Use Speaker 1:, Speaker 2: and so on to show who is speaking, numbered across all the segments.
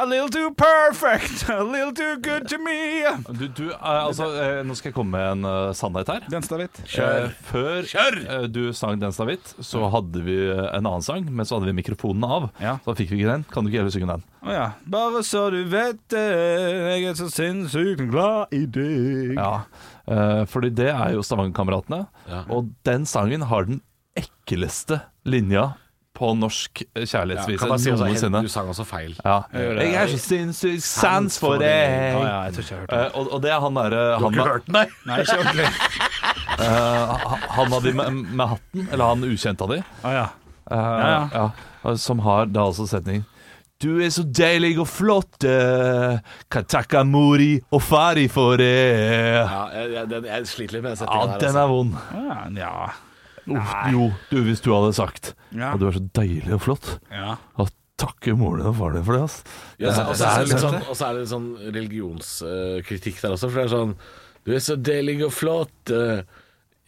Speaker 1: A little too perfect, a little too good to me.
Speaker 2: Du, du, eh, altså, eh, nå skal jeg komme med en eh, sannhet her.
Speaker 1: Den stavitt.
Speaker 2: Eh, Før eh, du sang den stavitt, så hadde vi eh, en annen sang, men så hadde vi mikrofonene av.
Speaker 1: Ja.
Speaker 2: Så da fikk vi ikke den. Kan du ikke heller synge den?
Speaker 1: Eh, Å ja. Bare så du vet det, jeg er så sinnssykt glad i deg.
Speaker 2: Ja. Eh, Fordi det er jo Stavangerkameratene.
Speaker 3: Ja.
Speaker 2: Og den sangen har den ekleste linja på norsk eh, kjærlighetsvise
Speaker 3: bare si også,
Speaker 2: noensinne.
Speaker 3: Du sang også feil.
Speaker 2: Ja.
Speaker 1: gjør
Speaker 2: Jeg
Speaker 1: det.
Speaker 2: er så sinnssykt sans for deg.
Speaker 1: Å ja, jeg tror ikke jeg har hørt det.
Speaker 2: Eh, og, og det er han derre han, med-
Speaker 3: den, nei?
Speaker 1: Nei, ikke ordentlig.
Speaker 2: eh, han av de med, med hatten, eller han ukjente av de,
Speaker 1: Å ja.
Speaker 2: eh,
Speaker 1: Ja,
Speaker 2: ja, eh, som har da altså setning Du er så deilig og flott, eh, kan takke mori og fari for det.
Speaker 3: Ja, jeg, jeg, den, jeg sliter litt med
Speaker 2: Ja,
Speaker 3: den setningen altså.
Speaker 2: den
Speaker 3: der.
Speaker 2: er vond.
Speaker 1: Å ja. ja.
Speaker 2: Uff, jo, du, hvis du hadde sagt
Speaker 1: Ja.
Speaker 2: Og du er så deilig og flott
Speaker 1: ja.
Speaker 2: Og takke moren din og faren din for det ass.
Speaker 3: Ja, så- og så
Speaker 2: Det
Speaker 3: er
Speaker 2: er
Speaker 3: det litt
Speaker 2: sant,
Speaker 3: sånn- og så er det litt sånn religionskritikk der også, for det er sånn Du er så deilig og flott. eh,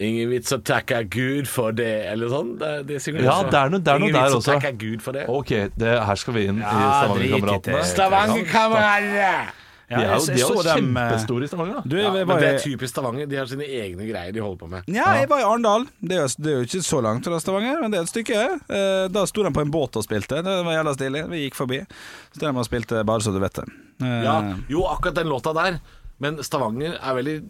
Speaker 3: Ingen vits å takke Gud for det, eller sånn. Det, det er sikkert
Speaker 2: Ja,
Speaker 3: også.
Speaker 2: det er noe- det er noe
Speaker 3: Ingen
Speaker 2: der
Speaker 3: vits å
Speaker 2: også.
Speaker 3: takke Gud for det.
Speaker 2: Ok, det, her skal vi inn i
Speaker 1: Ja, drit i det.
Speaker 2: Stavanger-kameratene
Speaker 3: Stavanger-kameratet!
Speaker 1: ja.
Speaker 2: De
Speaker 1: jeg-
Speaker 2: er jo,
Speaker 1: jeg
Speaker 2: de er jo
Speaker 1: så dem, eh,
Speaker 2: kjempestore i Stavanger da
Speaker 1: Du, jeg
Speaker 3: Ja, men
Speaker 1: var
Speaker 3: det er
Speaker 1: i
Speaker 3: typisk Stavanger. De har sine egne greier de holder på med.
Speaker 1: ja, jeg var i Arendal. Det er, jo, det er jo ikke så langt fra Stavanger, men det er et stykke. Eh, Da sto de på en båt og spilte. Det var jævla stilig. Vi gikk forbi. Så de og spilte Bare så du vet det. Eh,
Speaker 3: Ja, jo, akkurat den låta der. Men Stavanger er veldig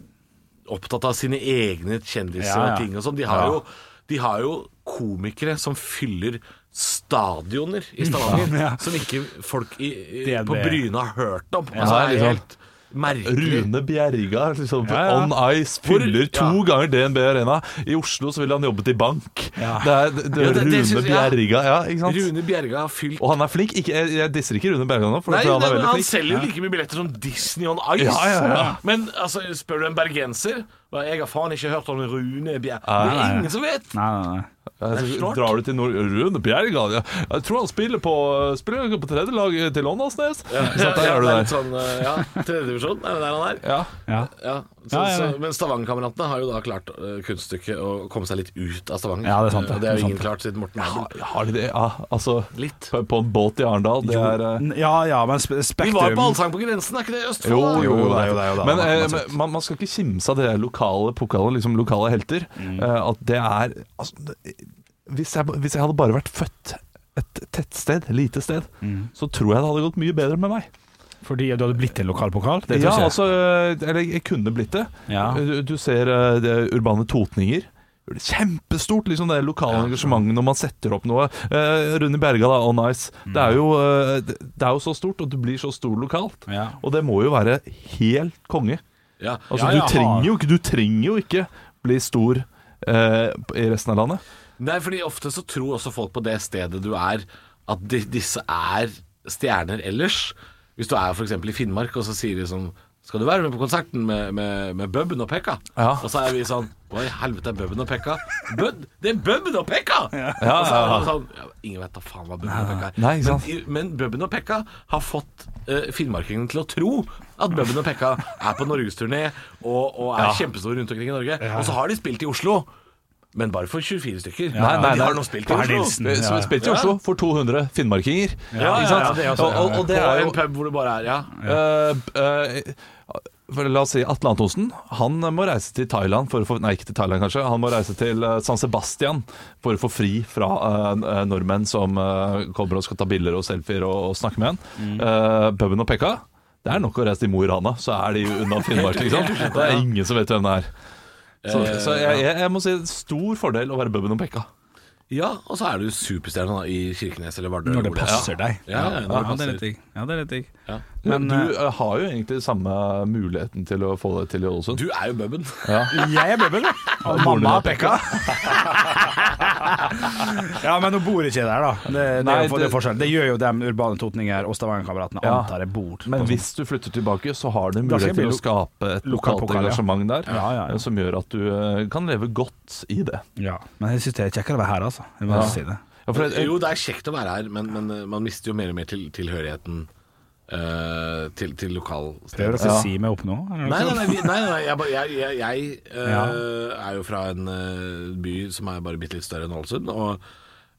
Speaker 3: opptatt av sine egne kjendiser
Speaker 1: Ja, ja.
Speaker 3: og ting og sånn. De, har
Speaker 2: Ja.
Speaker 3: jo- de har jo komikere som fyller stadioner i Stavanger,
Speaker 1: Ja.
Speaker 3: som ikke folk i, i,
Speaker 1: DNB.
Speaker 3: på Bryne har hørt om.
Speaker 2: Ja,
Speaker 3: Altså, det er
Speaker 2: liksom.
Speaker 3: helt merkelig.
Speaker 2: Rune Bjerga liksom,
Speaker 1: Ja, ja.
Speaker 2: On ice Fyller to
Speaker 3: Ja.
Speaker 2: ganger DNB Arena I Oslo så ville han jobbet i bank
Speaker 1: Ja.
Speaker 2: Det er, det, det
Speaker 3: Ja,
Speaker 2: er
Speaker 3: det-
Speaker 2: Rune
Speaker 3: det synes jeg- ja.
Speaker 2: Bjerga ja, ikke sant?
Speaker 3: Rune Bjerga har fylt
Speaker 2: Og han er flink ikke, Jeg, jeg disser ikke Rune Bjerga nå For
Speaker 3: Nei,
Speaker 2: jeg tror han
Speaker 3: nei,
Speaker 2: er
Speaker 3: men
Speaker 2: veldig
Speaker 3: han
Speaker 2: flink
Speaker 3: selger jo like mye billetter som Disney on Ice.
Speaker 2: Ja, ja, ja.
Speaker 3: Men altså, spør du en bergenser hva, Jeg har faen ikke hørt om
Speaker 2: Nei,
Speaker 3: Rune Bjerga. Det
Speaker 1: nei,
Speaker 3: er
Speaker 1: nei.
Speaker 3: ingen som vet!
Speaker 1: Nei, nei, nei.
Speaker 2: Jeg
Speaker 3: Det er
Speaker 2: tror-
Speaker 3: snart.
Speaker 2: Drar du til Nord Rune Bjerga? Jeg, jeg tror han spiller på Spiller på tredje lag eh, til Åndalsnes. Ja.
Speaker 3: Ja,
Speaker 2: Der
Speaker 3: ja,
Speaker 2: er du
Speaker 3: det er
Speaker 2: der.
Speaker 3: litt Sånn, eh, ja, Tredjedivisjon, er det der han er?
Speaker 2: Ja.
Speaker 1: Ja.
Speaker 3: Ja, så,
Speaker 1: Ja, ja, ja.
Speaker 3: Så, men Stavanger-kameratene har jo da klart eh, kunststykket å komme seg litt ut av Stavanger.
Speaker 1: Ja, det er sant,
Speaker 3: Eh,
Speaker 1: det.
Speaker 3: og det har
Speaker 1: Det
Speaker 3: jo
Speaker 1: er
Speaker 3: ingen klart siden Morten Abel.
Speaker 2: Har- Har de det? Ja, altså
Speaker 3: Litt.
Speaker 2: På, på en båt i Arendal, det er eh,
Speaker 1: ja, ja, men spe-
Speaker 3: Vi
Speaker 1: Spektrum
Speaker 3: var jo på Allsang på grensen, er ikke det i Østfold?
Speaker 2: jo,
Speaker 3: da?
Speaker 2: jo,
Speaker 1: jo,
Speaker 2: det er
Speaker 1: jo, det er jo det.
Speaker 2: Men
Speaker 1: Man-
Speaker 2: eh,
Speaker 1: man-
Speaker 2: men man, man skal ikke kimse av det lokale pokalet, liksom lokale helter.
Speaker 1: Mm.
Speaker 2: Eh, at det er altså, det- hvis, jeg, hvis jeg hadde bare vært født et tettsted, lite sted,
Speaker 1: Mm.
Speaker 2: så tror jeg det hadde gått mye bedre med meg.
Speaker 1: Fordi du hadde blitt en lokal pokal? Det
Speaker 2: Ja,
Speaker 1: tror jeg.
Speaker 2: altså eh, Eller jeg kunne blitt det.
Speaker 1: Ja.
Speaker 2: Du, du ser eh, det urbane totninger. Det er Kjempestort liksom det lokale engasjementet når man setter opp noe. Eh, Rune Bjerga, da, On Ice.
Speaker 1: Mm.
Speaker 2: Det, er jo, eh, det det er jo så stort, og det blir så stor lokalt.
Speaker 1: Ja.
Speaker 2: Og det må jo være helt konge.
Speaker 3: Ja.
Speaker 2: Altså,
Speaker 3: ja, ja.
Speaker 2: du, trenger jo, ikke- du trenger jo ikke bli stor eh, i resten av landet.
Speaker 3: Nei, fordi ofte så tror også folk på det stedet du er, at de, disse er stjerner ellers. Hvis du er f.eks. i Finnmark, og så sier de sånn skal du være med på konserten med, med, med Bubben og Pekka?
Speaker 2: Ja.
Speaker 3: Og så er vi sånn Hva i helvete er Bubben og Pekka? Bud, det er Bubben og Pekka!
Speaker 2: Ja,
Speaker 3: Og så er
Speaker 2: ja,
Speaker 3: det sånn, ja, ingen vet da faen hva Bubben og Pekka er.
Speaker 2: Nei, ikke sant?
Speaker 3: Men, i- men Bubben og Pekka har fått eh, finnmarkingene til å tro at Bubben og Pekka er på norgesturné og, og er
Speaker 2: Ja.
Speaker 3: kjempestore rundt omkring i Norge. Og så har de spilt i Oslo. Men bare for 24 stykker.
Speaker 2: Nei, nei,
Speaker 3: de
Speaker 2: nei.
Speaker 3: har nå spilt i
Speaker 1: Per
Speaker 3: Oslo.
Speaker 1: Nilsen.
Speaker 2: Eh, Som
Speaker 1: Ja.
Speaker 2: spilte i Oslo for 200 finnmarkinger.
Speaker 3: Ja,
Speaker 2: Ikke
Speaker 3: ja,
Speaker 2: sant?
Speaker 3: ja, det er
Speaker 2: og, og, og det
Speaker 3: På
Speaker 2: er jo
Speaker 3: en pub hvor det bare er Ja.
Speaker 2: Eh, eh, for La oss si Atle Antonsen. Han må reise til Thailand for å få Nei, ikke til Thailand, kanskje. Han må reise til eh, San Sebastian for å få fri fra eh, n- eh, nordmenn som eh, kommer og skal ta bilder og selfier og, og snakke med han.
Speaker 1: Mm.
Speaker 2: Uh, Bubben og Pekka. Det er nok å reise til Mo i Rana, så er de unna Finnmark, liksom. Det er ingen som vet hvem det er. Så,
Speaker 1: Eh,
Speaker 2: så jeg, jeg, jeg må si stor fordel å være Bubben og Pekka.
Speaker 3: ja, og så er du superstjerne da, i Kirkenes eller Vardø.
Speaker 1: Når
Speaker 3: eller
Speaker 1: det
Speaker 3: hvor er.
Speaker 1: passer deg.
Speaker 3: Ja, ja, når det
Speaker 1: det er
Speaker 3: passer.
Speaker 1: litt digg. Ja, det er litt digg.
Speaker 3: Ja.
Speaker 1: Men,
Speaker 2: du eh, har jo egentlig samme muligheten til å få det til i Ålesund.
Speaker 3: Du er jo bubben.
Speaker 1: eh, Jeg er bøbbel, og mamma er pekka. ja, men hun bor ikke der, da. Det, det, er
Speaker 2: Nei,
Speaker 1: jo for- det,
Speaker 2: det-
Speaker 1: er forskjell. det gjør jo dem urbane totninger og Stavanger-kameratene
Speaker 2: Ja.
Speaker 1: antar jeg bor.
Speaker 2: Men
Speaker 1: på
Speaker 2: hvis du flytter tilbake, så har du
Speaker 1: Da skal
Speaker 2: mulighet
Speaker 1: jeg
Speaker 2: til
Speaker 1: bli
Speaker 2: å
Speaker 1: lo-
Speaker 2: skape et
Speaker 1: lokal
Speaker 2: lokalt
Speaker 1: pokal, ja.
Speaker 2: engasjement der,
Speaker 1: Ja, ja, ja.
Speaker 2: eh, som gjør at du eh, kan leve godt i det.
Speaker 1: sånn. ja. Men jeg syns det er kjekkere å være her, altså. Jeg må
Speaker 2: Ja.
Speaker 1: bare si det.
Speaker 2: Ja, for eh, jeg,
Speaker 3: Jo, det er kjekt å være her, men, men eh, man mister jo mer og mer til, tilhørigheten eh, til,
Speaker 1: Prøver
Speaker 3: til lokalstedet.
Speaker 1: dere ikke
Speaker 2: Ja.
Speaker 1: si meg opp nå? eller noe
Speaker 3: Nei, nei,
Speaker 1: sånt?
Speaker 3: nei, vi- nei, nei jeg, bare- jeg, jeg, jeg eh,
Speaker 1: Ja.
Speaker 3: er jo fra en eh, by som er bare bitte litt større enn Ålesund. Og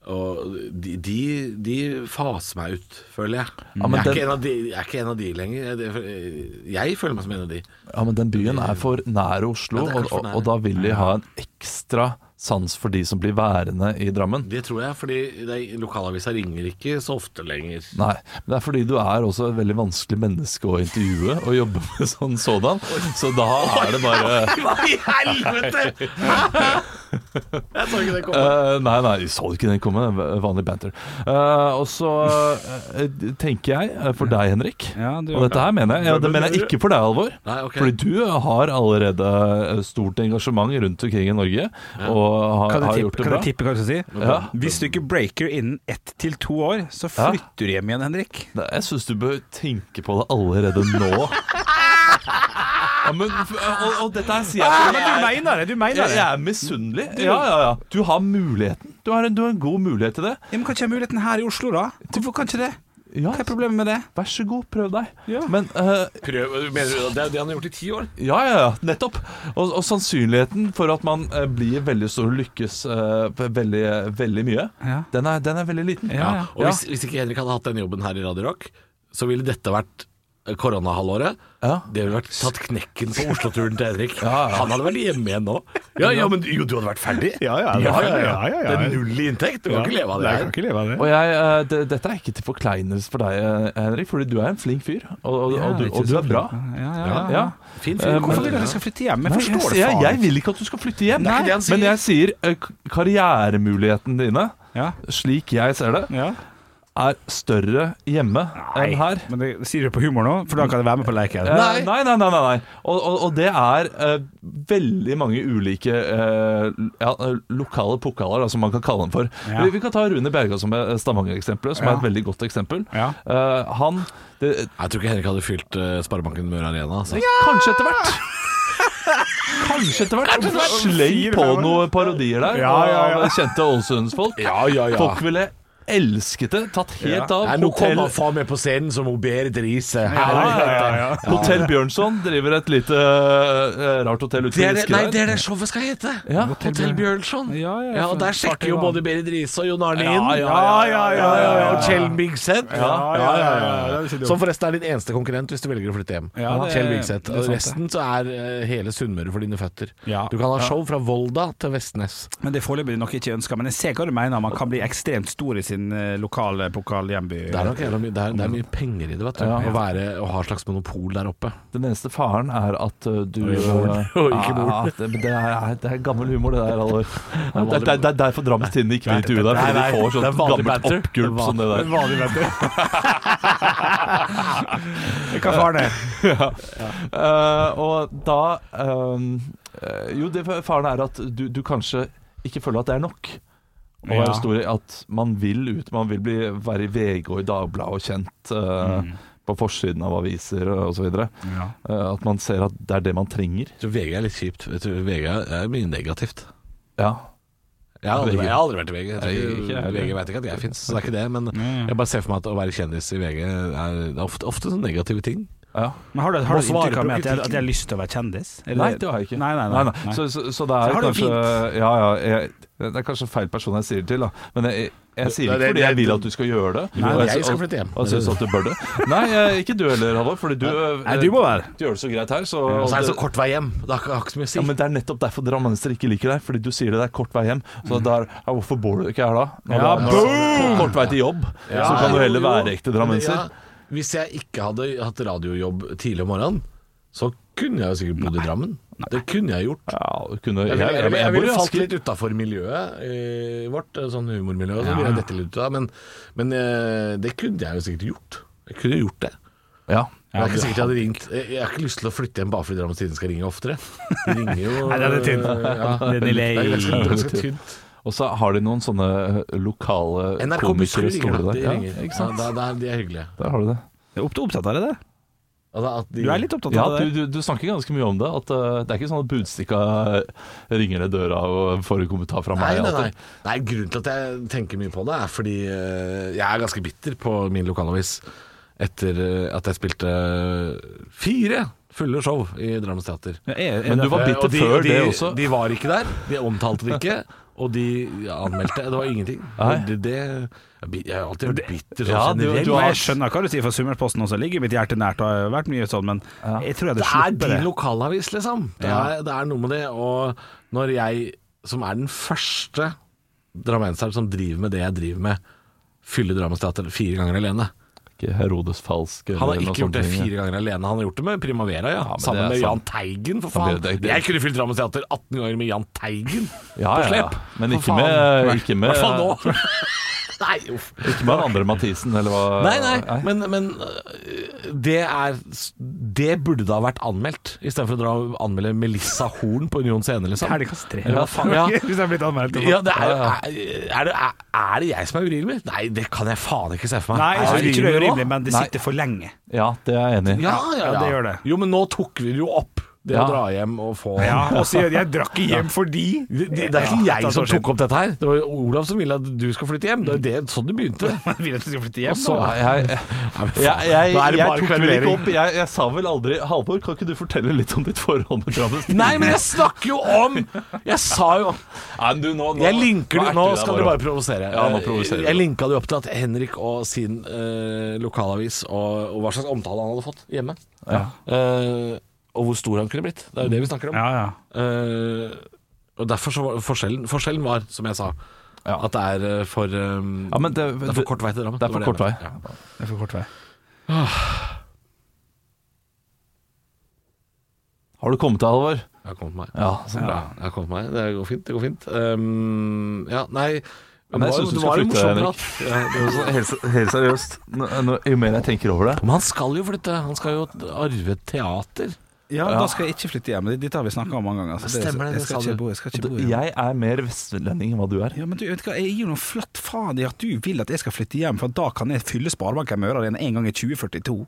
Speaker 3: Og de, de, de faser meg ut, føler jeg.
Speaker 2: Ja, men
Speaker 3: jeg, er
Speaker 2: den-
Speaker 3: ikke en av de, jeg er ikke en av de lenger. Jeg, det- jeg føler meg som en av de.
Speaker 2: Ja, men den byen er for nær Oslo,
Speaker 3: Ja, det er
Speaker 2: og,
Speaker 3: for
Speaker 2: og,
Speaker 3: nær.
Speaker 2: og da vil de ha en ekstra sans for de som blir værende i Drammen.
Speaker 3: Det tror jeg, fordi det- lokalavisa ringer ikke så ofte lenger.
Speaker 2: Nei, men det er fordi du er også et veldig vanskelig menneske å intervjue og jobbe med sånn sådan. Så da er det bare
Speaker 3: Hva i helvete?! jeg så ikke det komme.
Speaker 2: Eh, nei, nei, så du ikke den komme? Vanlig banter. Eh, og så eh, tenker jeg, eh, for deg Henrik
Speaker 1: Ja, du-
Speaker 2: Og dette her mener jeg, ja, det mener jeg ikke for deg, Alvor.
Speaker 3: Nei, ok.
Speaker 2: Fordi du har allerede eh, stort engasjement rundt omkring i Norge, og har,
Speaker 1: Kan
Speaker 2: har
Speaker 1: jeg, tippe,
Speaker 2: gjort det
Speaker 1: kan
Speaker 2: bra.
Speaker 1: jeg tippe hva du skal si?
Speaker 2: Ja.
Speaker 1: Hvis du ikke breaker innen ett til to år, så flytter du hjem igjen, Henrik.
Speaker 2: Nei, Jeg syns du bør tenke på det allerede nå. Ja, men, eh, og, og dette her sier jeg fordi jeg er-
Speaker 1: mener det! Ah, Du mener
Speaker 2: jeg, jeg er misunnelig. Ja, ja, ja. Du har muligheten. Du har en, du har en god mulighet til det.
Speaker 1: Ja, men kan ikke jeg ha muligheten her i Oslo, da? Hvorfor kan ikke det?
Speaker 2: Ja,
Speaker 1: Hva er problemet med det?
Speaker 2: vær så god, prøv deg.
Speaker 1: Ja.
Speaker 2: Men eh,
Speaker 3: Prøv, mener du, det er det han har gjort i ti år?
Speaker 2: Ja, ja, ja, nettopp. Og, og sannsynligheten for at man eh, blir veldig stor og lykkes eh, på veldig, veldig mye,
Speaker 1: Ja.
Speaker 2: den, er, den er veldig liten.
Speaker 1: Ja, ja.
Speaker 3: Og hvis, hvis ikke Henrik hadde hatt den jobben her i Radio Rock, så ville dette vært eh, koronahalvåret.
Speaker 2: Ja.
Speaker 3: Det ville vært tatt knekken på Oslo-turen til Henrik.
Speaker 2: Ja, ja.
Speaker 3: Han hadde vært hjemme igjen nå. Ja, ja, men jo, du hadde vært ferdig.
Speaker 4: Ja, ja, det er
Speaker 3: ja, ja,
Speaker 4: ferdig.
Speaker 3: ja.
Speaker 4: Ja, ja, ja.
Speaker 3: Det er null i inntekt. Du kan ikke leve av det
Speaker 4: Nei, jeg kan
Speaker 3: her.
Speaker 4: ikke leve av det.
Speaker 2: Og jeg, eh, det, dette er ikke til forkleinelse for deg, eh, Henrik, fordi du er en flink fyr, og, og, og, du, og du er bra.
Speaker 1: Ja, ja, ja.
Speaker 2: Ja. Eh,
Speaker 3: Fin fyr.
Speaker 2: men-
Speaker 1: Hvorfor vil du at jeg skal flytte hjem? Jeg
Speaker 2: Nei,
Speaker 1: forstår
Speaker 2: jeg,
Speaker 1: det
Speaker 2: jeg,
Speaker 1: faen
Speaker 2: jeg
Speaker 1: ikke.
Speaker 2: vil ikke at du skal flytte hjem,
Speaker 3: Nei, det er ikke det han
Speaker 2: men jeg sier eh, k- karrieremuligheten dine,
Speaker 1: Ja.
Speaker 2: slik jeg ser det,
Speaker 1: Ja.
Speaker 2: er større hjemme enn her.
Speaker 1: Men det sier du på humor nå, for da kan jeg være med på leken.
Speaker 2: Eh, Nei. Nei, nei, nei, nei, Og, og, og det er eh, veldig mange ulike eh, ja, lokale pokaler, da, som man kan kalle dem for.
Speaker 1: Ja.
Speaker 2: Vi, vi kan ta Rune Bjerga som er Stavanger-eksempelet, som
Speaker 1: Ja.
Speaker 2: er et veldig godt eksempel.
Speaker 1: Ja.
Speaker 2: Eh, han det,
Speaker 3: Jeg tror ikke Henrik hadde fylt eh, Sparebanken Møre Arena. Altså.
Speaker 2: Kanskje etter hvert. Kanskje etter hvert. Sløy på noen parodier der
Speaker 4: Ja, ja, ja.
Speaker 2: av kjente Ålesundsfolk.
Speaker 3: Ja, ja, ja.
Speaker 2: Folk ville elsket det. Tatt helt av.
Speaker 3: Nei, nå
Speaker 2: Hotell-
Speaker 3: kommer far med på scenen som hun Berit Riise.
Speaker 2: ja, ja, Hotell Bjørnson driver et lite eh, rart hotell ute
Speaker 3: Det
Speaker 2: i
Speaker 3: er det, nei,
Speaker 2: Giske
Speaker 3: det
Speaker 2: der.
Speaker 3: er det showet skal hete.
Speaker 2: Ja.
Speaker 3: Hotell Bjørnson.
Speaker 1: Ja, ja,
Speaker 3: og der
Speaker 1: for-
Speaker 3: sjekker jo
Speaker 1: party,
Speaker 3: både Berit Riise og Jon Arne inn.
Speaker 2: Ja, ja, ja, ja, ja, ja.
Speaker 3: Og Kjell Bigseth.
Speaker 2: Ja,
Speaker 4: ja, ja, ja,
Speaker 1: Sånn
Speaker 4: det er ikke dumt.
Speaker 3: Som forresten er din eneste konkurrent hvis du velger å flytte hjem.
Speaker 1: Ja, det-
Speaker 3: Kjell Bigseth.
Speaker 1: det er
Speaker 3: Og
Speaker 1: sant,
Speaker 3: resten så er eh, hele Sunnmøre for dine føtter.
Speaker 1: Ja.
Speaker 3: Du kan ha show fra Volda til Vestnes.
Speaker 1: Men det er foreløpig nok ikke ønska. Men jeg ser hva du mener, man kan bli ekstremt stor i sin eh, lokale pokalhjemby.
Speaker 3: Det er nok jævla mye, det er, det er mye penger i det, vet du. Å, være, å ha slags monopol der oppe.
Speaker 2: Den eneste faren er at uh, du
Speaker 3: Og ikke moren.
Speaker 2: Ja, det, men det, er, det er gammel humor, det der. Alvor. Det, er- det, er- det er derfor Drammens Tidende ikke vil intervjue deg. Fordi de får
Speaker 3: det er
Speaker 2: sånt
Speaker 3: vanlig
Speaker 2: gammelt
Speaker 3: banter.
Speaker 2: oppgulp som det der.
Speaker 4: Vanlig venter.
Speaker 1: Hva var det?
Speaker 2: Eh, og da ehm, eh, Jo, det faren er at du, du kanskje ikke føler at det er nok. Å være
Speaker 1: Ja.
Speaker 2: stor i at man vil ut, man vil bli, være i VG og i Dagbladet og kjent eh, på forsiden av aviser osv. videre
Speaker 1: Mm. Ja.
Speaker 2: Eh, at man ser at det er det man trenger.
Speaker 3: Jeg tror VG er litt kjipt. Jeg tror VG er mye negativt.
Speaker 2: Ja.
Speaker 3: Jeg har aldri, jeg har aldri vært i VG. Jeg tror
Speaker 2: Nei, ikke jeg heller.
Speaker 3: VG vet ikke at jeg fins, så det Mm. er ikke det. Men
Speaker 1: Mm.
Speaker 3: jeg bare ser for meg at å være kjendis i VG er det er ofte, ofte sånne negative ting.
Speaker 2: ja.
Speaker 1: Men har du, har
Speaker 3: Må
Speaker 1: du
Speaker 3: svare
Speaker 1: inntrykk av
Speaker 3: på
Speaker 1: meg at jeg, at jeg har lyst til å være kjendis? Er
Speaker 2: Nei, det har jeg ikke.
Speaker 1: Nei, nei, nei. nei.
Speaker 2: Så, så, så det er
Speaker 1: Så har du det
Speaker 2: kanskje Ja, ja, jeg, det er kanskje feil person jeg sier det til, da. Men jeg, jeg sier det
Speaker 3: Det- det-
Speaker 2: ikke fordi
Speaker 3: det-
Speaker 2: jeg vil at du skal gjøre det.
Speaker 3: Nei, altså,
Speaker 2: og
Speaker 3: jeg skal
Speaker 2: og-
Speaker 3: flytte hjem.
Speaker 2: Og syns at du bør det. Nei, eh, ikke du heller, Halvor. Fordi du eh,
Speaker 1: Nei, du må være.
Speaker 2: Du gjør det så greit her, så
Speaker 3: Og så er det så kort vei hjem. Det har ikke- har ikke så mye å si.
Speaker 2: ja, men Det er nettopp derfor drammenser ikke liker deg, fordi du sier det, det er kort vei hjem. Så det er, ja, hvorfor bor du ikke her da? Når
Speaker 1: Ja,
Speaker 2: det er- kort- kort vei til jobb,
Speaker 3: Ja,
Speaker 2: så kan du
Speaker 3: jo,
Speaker 2: heller
Speaker 3: jo.
Speaker 2: være ekte drammenser.
Speaker 3: Ja, hvis jeg ikke hadde hatt radiojobb tidlig om morgenen, så kunne jeg jo sikkert bodd i Drammen. Det kunne jeg gjort.
Speaker 2: Ja, du kunne,
Speaker 3: Jeg, jeg, jeg,
Speaker 2: jeg bor
Speaker 3: ville
Speaker 2: i
Speaker 3: falt
Speaker 2: Asker.
Speaker 3: litt utafor miljøet eh, vårt, eh, sånn humormiljø og så ville jeg dette litt ut av, men, men eh, det kunne jeg jo sikkert gjort. Jeg kunne jo gjort det.
Speaker 2: Ja.
Speaker 3: Men det er ikke sikkert jeg hadde ringt Jeg, jeg har ikke lyst til å flytte hjem bare fordi Drammens Tidende skal ringe oftere. De ringer jo
Speaker 1: Nei, det er litt tynt.
Speaker 3: Ja.
Speaker 1: Det er delay.
Speaker 3: Det er ganske- det er ganske tynt.
Speaker 2: Og så har de noen sånne eh, lokale
Speaker 3: NRK Buss
Speaker 2: komikere
Speaker 3: ringer,
Speaker 2: stående der.
Speaker 3: da. De
Speaker 2: Ja,
Speaker 3: ringer.
Speaker 2: ikke
Speaker 3: Ja,
Speaker 2: sant?
Speaker 3: da- da- de er hyggelige.
Speaker 2: Der har du det.
Speaker 1: Jeg er opp- opptatt av det der.
Speaker 3: Altså, at de-
Speaker 1: Du er litt opptatt
Speaker 2: Ja,
Speaker 1: av det.
Speaker 2: du, du, du snakker ganske mye om det. At eh, Det er ikke sånn at Budstikka eh, ringer ned døra og får en kommentar fra
Speaker 3: Nei,
Speaker 2: meg.
Speaker 3: nei,
Speaker 2: at-
Speaker 3: nei. nei, grunnen til at jeg tenker mye på det, er fordi eh, jeg er ganske bitter på min lokalavis etter eh, at jeg spilte eh, fire fulle show i Drammens Teater.
Speaker 1: Ja, er- er
Speaker 2: Men du
Speaker 1: det-
Speaker 2: var
Speaker 3: Eh,
Speaker 2: bitter
Speaker 3: og de,
Speaker 2: før
Speaker 3: de,
Speaker 2: det også.
Speaker 3: De var ikke der, de omtalte det ikke. Og de anmeldte. Det var ingenting.
Speaker 2: Nei.
Speaker 3: Det, det, jeg er alltid bitter sånn
Speaker 2: Ja, du-
Speaker 3: generelt.
Speaker 2: du har-
Speaker 1: Men jeg skjønner hva du sier, for Summerposten også ligger mitt hjerte nært. og Det har jo vært mye sånn, men jeg tror jeg hadde
Speaker 3: Det er
Speaker 1: sluppet det.
Speaker 3: din lokalavis, liksom. Det, er, det er noe med det. Og når jeg, som er den første drammenseren som driver med det jeg driver med, fyller Drammensteater fire ganger alene
Speaker 2: Ikke Herodes falsk. eller
Speaker 3: Han har
Speaker 2: noe
Speaker 3: ikke gjort det
Speaker 2: sånt.
Speaker 3: fire ganger alene. Han har gjort det med Primavera, ja.
Speaker 2: men det
Speaker 3: Sammen
Speaker 2: er
Speaker 3: med Jahn
Speaker 2: sant.
Speaker 3: Teigen, for
Speaker 2: Han
Speaker 3: faen.
Speaker 2: blir- det- det-
Speaker 3: Jeg kunne fylt Drammensteater 18 ganger med Jahn Teigen
Speaker 2: Ja, ja,
Speaker 3: på
Speaker 2: ja.
Speaker 3: slep.
Speaker 2: Men
Speaker 3: For
Speaker 2: ikke
Speaker 3: faen.
Speaker 2: med, ikke
Speaker 3: I
Speaker 2: med
Speaker 3: hvert fall nå. Nei, uff.
Speaker 2: Ikke med han andre Mathisen, eller hva?
Speaker 3: Nei, nei, men, men øh, det er Det burde da vært anmeldt, istedenfor å dra og anmelde Melissa Horn på Union Scene, liksom.
Speaker 1: Terningkast tre.
Speaker 3: Ja, faen, ja.
Speaker 1: Hvis jeg er blitt anmeldt.
Speaker 3: Ja, det er, jo- er, det, er, er det jeg som er urimelig? Nei, det kan jeg faen ikke se for meg.
Speaker 1: Nei, jeg
Speaker 3: Er
Speaker 1: synes ikke det er
Speaker 3: urimelig nå?
Speaker 1: urimelig, men det
Speaker 2: Nei.
Speaker 1: sitter for lenge.
Speaker 2: Ja, det er jeg enig i.
Speaker 3: Ja, ja,
Speaker 1: Ja,
Speaker 3: ja,
Speaker 1: det gjør det.
Speaker 3: Jo, men nå tok vi det jo opp. Det
Speaker 2: Ja.
Speaker 3: å dra hjem og få
Speaker 1: Ja, og så jeg, jeg drakk ikke hjem fordi
Speaker 3: Det, det, det er ikke jeg som tok opp dette her. Det var jo Olav som ville at du skal flytte hjem. Det var jo det, sånn det begynte.
Speaker 1: Vil at du skal flytte hjem?
Speaker 3: Så,
Speaker 2: Nei, jeg, jeg, jeg, jeg,
Speaker 3: Da er
Speaker 2: tok
Speaker 3: det bare
Speaker 2: vel ikke
Speaker 3: kverulering.
Speaker 2: opp jeg, jeg sa vel aldri Halvor, kan ikke du fortelle litt om ditt forhold med Travis?
Speaker 3: Nei, men jeg snakker jo om Jeg sa jo
Speaker 2: Nei, men du, nå, nå,
Speaker 3: Jeg linker det, Nå
Speaker 2: erter jeg
Speaker 3: skal
Speaker 2: deg
Speaker 3: du bare provosere.
Speaker 2: Ja, nå provoserer du.
Speaker 3: jeg linka det jo opp til at Henrik og sin eh, lokalavis, og, og hva slags omtale han hadde fått hjemme.
Speaker 2: Ja.
Speaker 3: Eh, og hvor stor han kunne blitt. Det er jo det vi snakker om.
Speaker 1: Ja, ja.
Speaker 3: Eh, og derfor så var forskjellen, forskjellen var, som jeg sa,
Speaker 2: Ja.
Speaker 3: at det er eh, for eh,
Speaker 2: Ja, men det,
Speaker 3: Det er for kort vei til Drammen.
Speaker 2: Det er for
Speaker 3: var
Speaker 2: kort
Speaker 3: jeg
Speaker 2: vei.
Speaker 3: mente. Ja.
Speaker 1: Det er for kort vei.
Speaker 2: Har du kommet deg, Halvor?
Speaker 3: Jeg har kommet meg.
Speaker 2: Ja, så
Speaker 3: Ja,
Speaker 2: bra.
Speaker 3: jeg har kommet meg. Det går fint. Det går fint. Um, ja, nei
Speaker 2: Ja, men jeg synes du skal flytte, Henrik.
Speaker 3: Henrik.
Speaker 2: Helt, helt seriøst, nå, nå, jo mer jeg tenker over det
Speaker 3: Men han skal jo flytte. Han skal jo arve et teater.
Speaker 1: Ja, da skal jeg ikke flytte hjem. Dette har vi snakka om mange ganger. så
Speaker 3: Stemmer det,
Speaker 1: jeg
Speaker 3: det
Speaker 1: skal
Speaker 3: sa
Speaker 1: ikke
Speaker 3: du.
Speaker 1: bo, jeg skal ikke bo
Speaker 2: Og det-
Speaker 1: hjemme.
Speaker 2: Jeg er mer vestlending enn hva du er.
Speaker 1: Ja, men du, vet du hva, Jeg gir noe flatt faen i at du vil at jeg skal flytte hjem, for da kan jeg fylle Sparebanken Møre Arena en gang i 2042.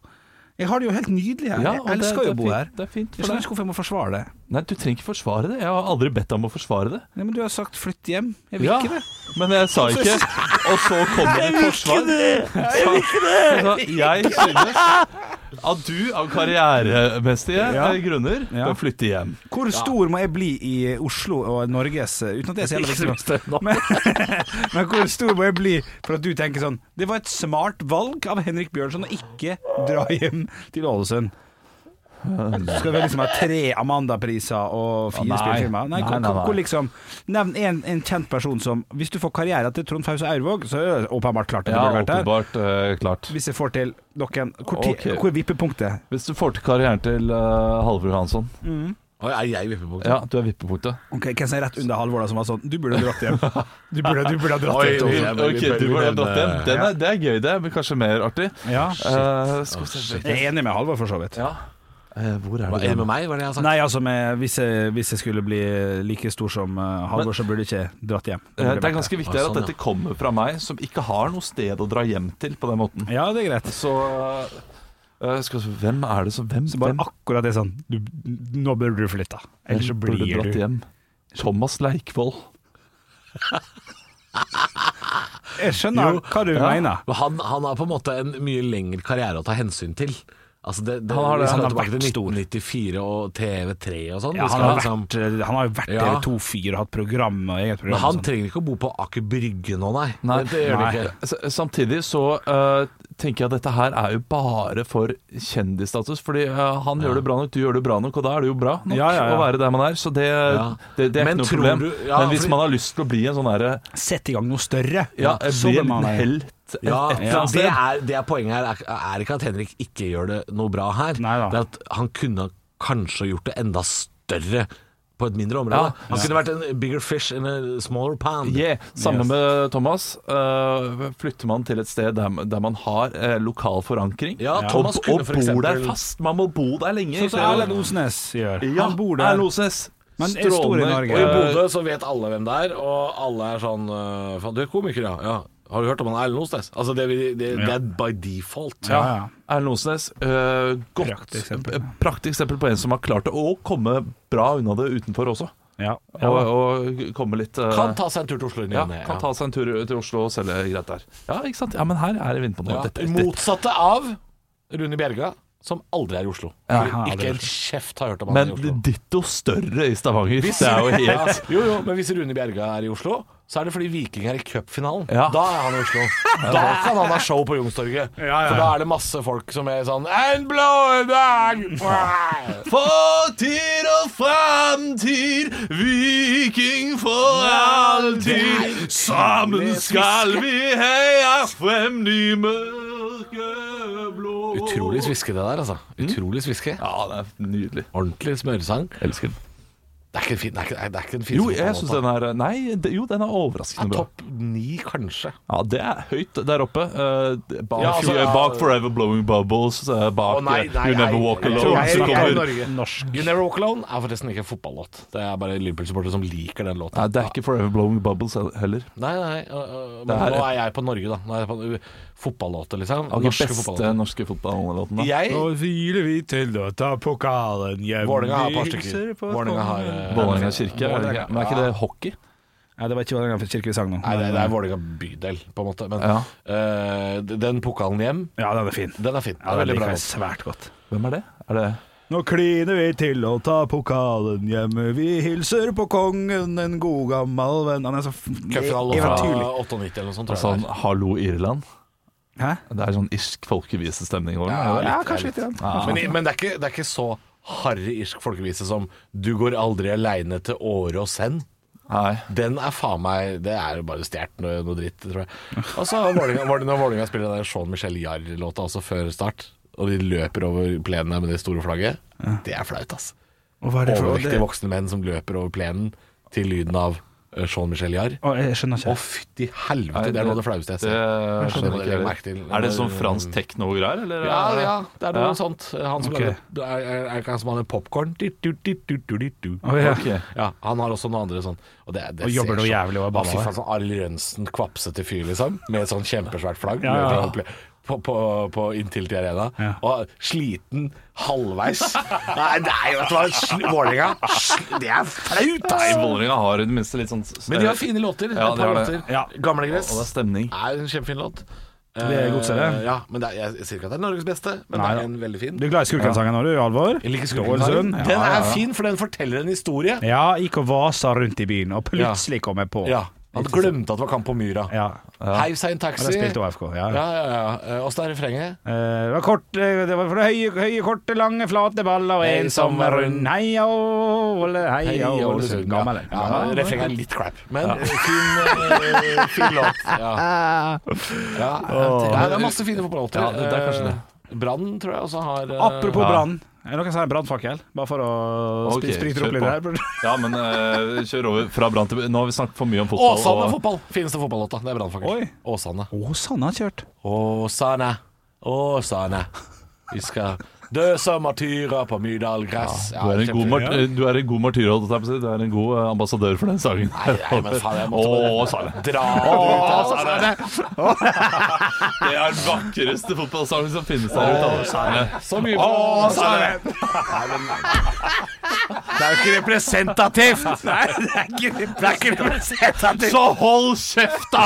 Speaker 1: Jeg har det jo helt nydelig her.
Speaker 2: Ja, og
Speaker 1: jeg elsker
Speaker 2: det- det
Speaker 1: jo
Speaker 2: er
Speaker 1: å bo
Speaker 2: fint-
Speaker 1: her.
Speaker 2: det er fint for
Speaker 1: jeg
Speaker 2: deg.
Speaker 1: skjønner ikke hvorfor jeg må forsvare det.
Speaker 2: Nei, du trenger ikke forsvare det. Jeg har aldri bedt deg om å forsvare det.
Speaker 1: Nei, men Du har sagt 'flytt hjem'. Jeg vil ikke det.
Speaker 2: Men jeg sa ikke Og så kommer det et forsvar. Jeg vil ikke det! Jeg synes at du av karrieremessige
Speaker 1: Ja.
Speaker 2: eh, grunner
Speaker 1: Ja.
Speaker 2: bør flytte hjem.
Speaker 1: Hvor stor må jeg bli i Oslo og Norges eh, Uten at det er så jævla viktig.
Speaker 3: Ikke så mye større nå.
Speaker 1: Men, men hvor stor må jeg bli for at du tenker sånn Det var et smart valg av Henrik Bjørnson å ikke dra hjem til Ålesund. Så skal vi liksom ha tre Amanda-priser og fire
Speaker 2: Å, nei.
Speaker 1: spillefilmer? Nei,
Speaker 2: Nei,
Speaker 1: hvor-
Speaker 2: nei, nei.
Speaker 1: Hvor liksom Nevn en, en kjent person som Hvis du får karriere til Trond Fause Aurvåg, så er det åpenbart klart at det
Speaker 2: Ja,
Speaker 1: burde vært der.
Speaker 2: åpenbart eh, klart.
Speaker 1: Hvis jeg får til noen Hvor, ti-
Speaker 2: Ok.
Speaker 1: hvor er vippepunktet?
Speaker 2: Hvis du får til karrieren til eh, Halvor Johansson
Speaker 3: Oi, er jeg vippepunktet?
Speaker 2: Ja, du er vippepunktet.
Speaker 1: Ok, Hvem som er rett under Halvor, da, som var sånn Du burde ha dratt hjem. Du burde, du burde ha dratt
Speaker 3: Oi,
Speaker 1: hjem. Tore.
Speaker 3: vi- men
Speaker 2: Ok,
Speaker 3: vi-
Speaker 2: du
Speaker 3: vi-
Speaker 2: var
Speaker 3: men,
Speaker 2: dratt hjem.
Speaker 3: eh,
Speaker 2: Den er, det er gøy, det. Men kanskje mer artig.
Speaker 1: Ja.
Speaker 2: Eh, skal vi se
Speaker 1: Jeg er enig med Halvor, for så vidt.
Speaker 2: Ja. Eh, hvor er
Speaker 3: Hva
Speaker 2: det
Speaker 3: er det
Speaker 2: den?
Speaker 3: med meg, var det jeg sa?
Speaker 1: Nei, altså, med, hvis, jeg, hvis jeg skulle bli like stor som eh, Halvor, så burde jeg ikke dratt hjem.
Speaker 2: Eh, Det er ganske viktig her at
Speaker 3: Sånn, ja.
Speaker 2: dette kommer fra meg, som ikke har noe sted å dra hjem til på den måten.
Speaker 1: Ja, det er greit.
Speaker 2: Så eh, skal, vi se, Hvem er det som Hvem,
Speaker 1: Så bare
Speaker 2: hvem
Speaker 1: akkurat det er sånn du, Nå burde du flytte, ellers så
Speaker 2: hvem burde
Speaker 1: blir
Speaker 2: dratt
Speaker 1: du
Speaker 2: hjem? Thomas Leikvoll.
Speaker 1: Jeg skjønner
Speaker 3: Jo,
Speaker 1: hva du mener.
Speaker 3: Men han, han har på en måte en mye lengre karriere å ta hensyn til. Altså det, det,
Speaker 2: Han har det.
Speaker 3: vi skal
Speaker 1: Han har
Speaker 3: tilbake
Speaker 1: vært
Speaker 3: til 1994 og TV3 og sånn.
Speaker 1: Ja,
Speaker 3: Vi skal
Speaker 1: han, har
Speaker 3: liksom-
Speaker 1: vært, eh, han har jo vært
Speaker 3: Ja.
Speaker 1: TV2-fyr og hatt program og eget program.
Speaker 3: men han
Speaker 1: og sånn.
Speaker 3: trenger ikke å bo på Aker Brygge nå, nei.
Speaker 2: Nei.
Speaker 3: Det, det gjør han
Speaker 1: Nei.
Speaker 3: ikke.
Speaker 2: S- Samtidig så eh, tenker jeg at dette her er jo bare for kjendisstatus. Fordi eh, han gjør det bra nok, du gjør det bra nok, og da er det jo bra nok
Speaker 1: Ja, ja, ja.
Speaker 2: å være der man er. Så det,
Speaker 3: Ja.
Speaker 2: det, det er ikke
Speaker 3: Men
Speaker 2: noe
Speaker 3: tror
Speaker 2: problem.
Speaker 3: du- ja,
Speaker 2: Men hvis
Speaker 3: fordi-
Speaker 2: man har lyst til å bli en sånn derre
Speaker 1: Sett i gang noe større.
Speaker 2: Ja,
Speaker 1: så
Speaker 2: bli
Speaker 1: bør
Speaker 2: en
Speaker 1: man-
Speaker 2: liten helt et, et
Speaker 3: Ja,
Speaker 2: eller annet
Speaker 3: det,
Speaker 2: sted.
Speaker 3: er, det er poenget her. Er, er ikke at Henrik ikke gjør det noe bra her.
Speaker 1: Nei da.
Speaker 3: Det er at han kunne kanskje gjort det enda større på et mindre
Speaker 2: Ja.
Speaker 3: område. Han kunne vært en bigger fish in a smaller pond.
Speaker 2: Yeah, Samme
Speaker 1: Yes.
Speaker 2: med Thomas. Eh, flytter man til et sted der, der man har eh, lokal forankring,
Speaker 3: Ja,
Speaker 2: og,
Speaker 3: Thomas kunne
Speaker 2: og
Speaker 3: for
Speaker 2: bor
Speaker 3: eksempel-
Speaker 2: der fast. Man må bo der lenge.
Speaker 1: Sånn som Erlend Osnes gjør.
Speaker 2: ja,
Speaker 1: Han bor der.
Speaker 2: Erlend Osnes.
Speaker 1: Men er stor i
Speaker 2: Strålende.
Speaker 1: Norge.
Speaker 3: Og i
Speaker 1: Eh,
Speaker 3: Bodø så vet alle hvem det er, og alle er sånn øh, Faen, du er komiker, ja. ja. Har du hørt om han Erlend Osnes? Altså, det, det, det, det er by default.
Speaker 1: Ja, ja.
Speaker 2: Erlend Osnes, eh, godt
Speaker 1: Prakteksempel.
Speaker 2: eh, prakteksempel på en som har klart det, og komme bra unna det utenfor også.
Speaker 1: Ja.
Speaker 2: Og, og komme litt eh,
Speaker 3: Kan ta seg en tur til Oslo. i ny
Speaker 2: ja,
Speaker 3: og ne, ja.
Speaker 2: kan ta seg en tur til Oslo og selge greit der. Ja, ikke sant? Ja, men her er det vind på noe.
Speaker 3: Ja,
Speaker 2: Dette-
Speaker 3: Motsatte av Rune Bjerga, som aldri er i Oslo.
Speaker 2: Ja,
Speaker 3: Fordi
Speaker 1: aldri i
Speaker 3: ikke en
Speaker 1: Oslo.
Speaker 3: kjeft har hørt om han
Speaker 2: Men
Speaker 3: i Oslo.
Speaker 2: ditto større i Stavanger. Det er jo
Speaker 3: Ja,
Speaker 2: helt
Speaker 3: jo, jo, men hvis Rune Bjerga er i Oslo, så er det fordi Viking er i cupfinalen.
Speaker 2: Ja.
Speaker 3: Da er han i Oslo. Da kan han ha show på Youngstorget.
Speaker 1: ja, ja.
Speaker 3: For da er det masse folk som er sånn En blå dag!
Speaker 2: Fortid og framtid, viking for alltid. Sammen skal vi heie frem de mørkeblå
Speaker 3: Utrolig sviske det der, altså. Utrolig sviske.
Speaker 2: Mm. Ja, det er nydelig.
Speaker 3: Ordentlig smøresang.
Speaker 2: Elsker den.
Speaker 3: Det er ikke en fin, det er ikke, det er ikke en fin
Speaker 2: Jo, jeg syns den er Nei, det- jo, den er overraskende bra.
Speaker 3: Topp ni, kanskje.
Speaker 2: Ja, det er høyt der oppe. Eh, bak,
Speaker 3: Ja, altså, ja.
Speaker 2: bak 'Forever Blowing Bubbles', eh, bak
Speaker 3: Å, nei,
Speaker 2: eh,
Speaker 3: nei,
Speaker 2: 'You Never
Speaker 3: nei,
Speaker 2: Walk
Speaker 3: jeg
Speaker 1: Jeg
Speaker 2: Alone'.
Speaker 1: tror
Speaker 3: jeg
Speaker 2: så
Speaker 1: jeg
Speaker 3: liker
Speaker 1: liker
Speaker 2: kommer-
Speaker 1: Norge. Norsk.
Speaker 3: You Never Walk Alone er forresten ikke en fotballåt. Det er bare Liverpool-supportere som liker den låten.
Speaker 2: Nei, det er ikke 'Forever Blowing Bubbles' he- heller.
Speaker 3: Nei, nei, øh, øh, men
Speaker 2: Det er-
Speaker 3: nå er jeg på Norge, da. Nå er jeg på øh, fotballåter, liksom.
Speaker 2: Av de
Speaker 3: Norske
Speaker 2: beste
Speaker 3: fotballåter.
Speaker 2: norske fotballåtene.
Speaker 3: Jeg
Speaker 1: Nå filer vi til å ta pokalen hjem.
Speaker 3: Vålerenga har et par
Speaker 1: Vi
Speaker 3: stykker.
Speaker 1: hilser på
Speaker 3: Vålerenga har øh,
Speaker 2: Vålerenga kirke, er det ikke? men er ikke det hockey?
Speaker 1: Ja, det var ikke Vålerenga kirke vi sang nå. eh,
Speaker 3: Nei, det, det er Vålerenga bydel, på en måte. Men
Speaker 2: Ja.
Speaker 3: øh, d- den pokalen hjem,
Speaker 1: Ja, den er fin.
Speaker 3: den er fin.
Speaker 1: Ja,
Speaker 3: Den er
Speaker 1: den
Speaker 3: veldig bra.
Speaker 1: liker jeg svært godt.
Speaker 2: Hvem er det? Er det
Speaker 1: Nå kliner vi til å ta pokalen hjemme. Vi hilser på kongen, en god gammel venn Han er så f-
Speaker 3: Cupfinalen fra
Speaker 1: eventyrlig.
Speaker 3: 98 eller noe
Speaker 2: altså,
Speaker 3: sånt, tror jeg.
Speaker 2: sånn
Speaker 3: det er.
Speaker 2: 'Hallo Irland'?
Speaker 1: Hæ?
Speaker 2: Det er sånn irsk folkevisestemning over den.
Speaker 3: Ja,
Speaker 2: er det
Speaker 3: ja,
Speaker 2: litt-
Speaker 3: kanskje
Speaker 2: er
Speaker 3: litt.
Speaker 2: litt-
Speaker 1: Ah.
Speaker 2: Ja.
Speaker 3: Men, men det, er ikke, det er ikke så harry irsk folkevise som 'Du går aldri aleine til Åre og Send'.
Speaker 2: Nei.
Speaker 3: Den er faen meg Det er jo bare stjålet noe, noe dritt, tror jeg. Og så har Vålerenga- var det når Vålerenga spiller den der Sean Michel Jarr-låta også før start, og de løper over plenen med det store flagget, det er flaut, ass.
Speaker 1: Og hva er det for
Speaker 3: Overvektige
Speaker 1: det?
Speaker 3: voksne menn som løper over plenen til lyden av eh, Sean Michel Jarr.
Speaker 1: Å, jeg skjønner ikke.
Speaker 3: Å, fytti helvete,
Speaker 2: Nei,
Speaker 3: det er noe av det flaueste
Speaker 2: Det
Speaker 3: jeg ser.
Speaker 2: skjønner jeg
Speaker 3: det legger jeg merke
Speaker 2: ikke.
Speaker 3: til.
Speaker 2: heller. Er det sånn fransk tekno-greier, eller?
Speaker 3: Ja, ja, det er noe
Speaker 2: Ja.
Speaker 3: sånt. Han som
Speaker 2: Ok.
Speaker 3: okay. er, er, er ikke han som hadde popkorn?
Speaker 1: Å, ja.
Speaker 2: Ok.
Speaker 3: Ja, han har også noen andre sånn. Og, det, det
Speaker 1: Og jobber
Speaker 3: ser
Speaker 1: noe
Speaker 3: så-
Speaker 1: jævlig og er
Speaker 3: Å,
Speaker 1: balla
Speaker 3: Fy
Speaker 1: der.
Speaker 3: faen, sånn Arild Rønsen, kvapsete fyr, liksom. Med sånn kjempesvært flagg.
Speaker 1: Ja, ja, ja.
Speaker 3: løper På, på, på Intility Arena.
Speaker 1: Ja.
Speaker 3: Og sliten halvveis. Nei, nei, vet du hva. Sl- Vålerenga. sl- Det er flaut,
Speaker 2: Nei,
Speaker 3: ass!
Speaker 2: Vålerenga har i det minste litt sånn
Speaker 3: Men de har fine låter.
Speaker 2: Ja,
Speaker 3: et
Speaker 2: de
Speaker 3: par
Speaker 2: har det.
Speaker 3: låter.
Speaker 1: Ja.
Speaker 3: Gamlegress
Speaker 2: Og det er stemning.
Speaker 3: er en kjempefin låt.
Speaker 1: er godset, det.
Speaker 3: Eh, Ja, men det er, jeg sier ikke at det er Norges beste, men
Speaker 1: Nei,
Speaker 3: det
Speaker 1: da.
Speaker 3: er en veldig fin.
Speaker 1: Du er glad i Skurkensangen nå, du, Alvor?
Speaker 3: Jeg liker
Speaker 1: Ålesund?
Speaker 3: Skurkensangen.
Speaker 1: Ja,
Speaker 3: Den
Speaker 1: ja,
Speaker 3: er
Speaker 1: ja.
Speaker 3: fin, for den forteller en historie.
Speaker 1: Ja, gikk og vasa rundt i byen, og plutselig kom jeg på.
Speaker 3: Ja, Han glemte at det var kamp på Myra.
Speaker 1: Ja.
Speaker 3: Heiv seg i en
Speaker 1: Men
Speaker 3: taxi.
Speaker 1: jeg spilte OFK, ja.
Speaker 3: Ja, ja, ja. Åssen er refrenget?
Speaker 1: Eh, Det var kort, eh, det var for det høye, høye, korte, lange, flate baller og en som var rund. Heia Åle, heia Ålesund. Gammel.
Speaker 3: Ja, ja, refrenget er litt crap, men fin, eh, fin låt. Ja. Ja, ja, det er masse fine fotballåter.
Speaker 2: Ja, det- det er kanskje det.
Speaker 3: Eh, Brann tror jeg også har eh,
Speaker 1: Apropos
Speaker 2: Ja.
Speaker 1: brann. Er det noen som har en brannfakkel? Bare for å
Speaker 2: Ok,
Speaker 1: okay, stryke opp
Speaker 2: kjør
Speaker 1: litt her.
Speaker 2: på. Ja, men eh, kjør over fra brann til Nå har vi snakket for mye om fotball.
Speaker 3: Åsane
Speaker 2: og-
Speaker 3: fotball! Fineste fotballåta. Det er Brann,
Speaker 1: Oi.
Speaker 3: faktisk. Åsane.
Speaker 1: Åsane sånn har kjørt.
Speaker 3: Åsane, Åsane. Vi skal dø som martyrer på Myrdal gress.
Speaker 2: Du er, en god
Speaker 3: kjempefin.
Speaker 2: mart du er en god martyr, holdt jeg på å si. Du er en god eh, ambassadør for den sangen.
Speaker 3: Nei, nei, men faen, jeg måtte bare-
Speaker 2: Å, Sale.
Speaker 3: Dra det ut, altså.
Speaker 2: Det er den vakreste fotballsangen som finnes der ute. altså. Sale.
Speaker 3: Så mye bra.
Speaker 1: Det er jo ikke representativt! Nei, det er ikke representativt.
Speaker 2: Så hold kjeft, da!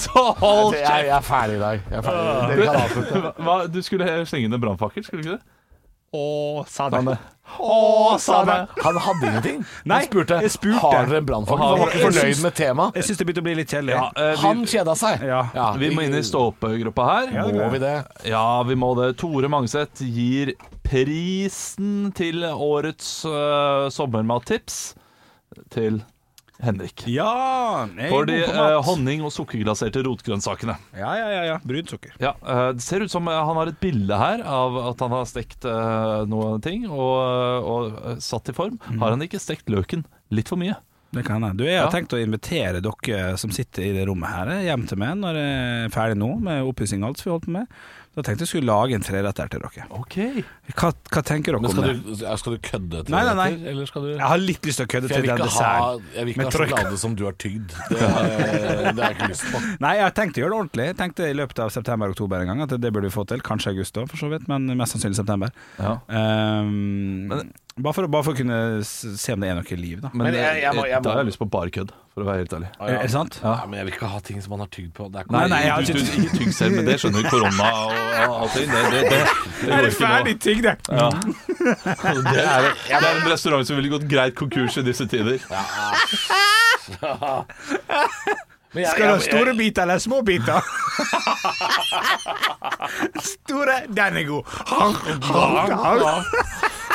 Speaker 2: Så hold
Speaker 3: Jeg,
Speaker 2: kjeft!
Speaker 3: jeg er ferdig i dag. Jeg er ferdig. Dere kan avslutte.
Speaker 2: Hva, du skulle slenge inn en brannfakkel, skulle du ikke det?
Speaker 1: Åsane.
Speaker 2: Åsane!
Speaker 3: Han hadde ingenting.
Speaker 1: Nei,
Speaker 3: han spurte,
Speaker 1: jeg spurte.
Speaker 3: har dere en brannfakkel. Han var ikke
Speaker 1: Jeg
Speaker 3: fornøyd
Speaker 1: syns-
Speaker 3: med temaet.
Speaker 1: Jeg syns det begynte å bli litt kjedelig.
Speaker 2: Ja, eh, vi,
Speaker 3: Han kjeda seg.
Speaker 1: Ja.
Speaker 2: vi må inn i stå-opp-gruppa her.
Speaker 3: Må vi det?
Speaker 2: Ja, vi må det. Tore Mangseth gir prisen til årets uh, sommermattips til Henrik.
Speaker 1: Ja, jeg er
Speaker 2: For de
Speaker 1: god på
Speaker 2: eh,
Speaker 1: mat.
Speaker 2: honning- og sukkerglaserte rotgrønnsakene.
Speaker 1: Ja, ja, ja, ja. Brunt sukker.
Speaker 2: Ja, eh, Det ser ut som eh, han har et bilde her av at han har stekt eh, noen ting og, og eh, satt i form.
Speaker 3: Mm.
Speaker 2: Har han ikke stekt løken litt for mye?
Speaker 1: Det kan jeg. Du, jeg har
Speaker 2: Ja.
Speaker 1: tenkt å invitere dere eh, som sitter i det rommet her, eh, hjem til meg når jeg er ferdig nå med oppussing og alt som vi holdt på med. Så jeg tenkte jeg skulle lage en fredag der til dere.
Speaker 2: Ok
Speaker 1: Hva, hva tenker dere
Speaker 3: Men
Speaker 1: om
Speaker 3: skal
Speaker 1: det?
Speaker 3: du, skal du kødde til
Speaker 1: Nei, nei, nei.
Speaker 3: dere, Eller skal du
Speaker 1: Jeg har litt lyst til å kødde
Speaker 3: For jeg
Speaker 1: til
Speaker 3: vil
Speaker 1: den
Speaker 3: ikke ha,
Speaker 1: desserten.
Speaker 3: jeg vil
Speaker 1: Med
Speaker 3: ikke ha
Speaker 1: trøkk.
Speaker 3: sjokolade som du har tygd. Det, det har jeg ikke lyst på.
Speaker 1: Nei, jeg har tenkt å gjøre det ordentlig. Jeg tenkte i løpet av september-oktober en gang at det burde vi få til. Kanskje august òg, for så vidt, men mest sannsynlig september.
Speaker 2: ja.
Speaker 1: Ehm, bare, for, å- bare for å kunne s- se om det er noe liv, da.
Speaker 2: Men,
Speaker 3: Men jeg- jeg må- jeg
Speaker 2: eh, da
Speaker 3: må-
Speaker 2: har jeg lyst på bare kødd. for å være helt ærlig.
Speaker 1: Er det sant?
Speaker 3: Ja. men jeg vil ikke ha ting som man har tygd på. Det er
Speaker 1: Nei, nei, jeg har
Speaker 2: du,
Speaker 1: ikke-
Speaker 2: du, ikke tygg selv, men det skjønner du. Korona og og alt det, det, det, det, det går ikke nå.
Speaker 1: ting, det?
Speaker 2: Ja. Det, er, det er en restaurant som ville gått greit konkurs i disse tider.
Speaker 3: Men jeg-
Speaker 1: Skal du ha
Speaker 3: jeg-
Speaker 1: store biter eller små biter? store Den er god. Har, har, har.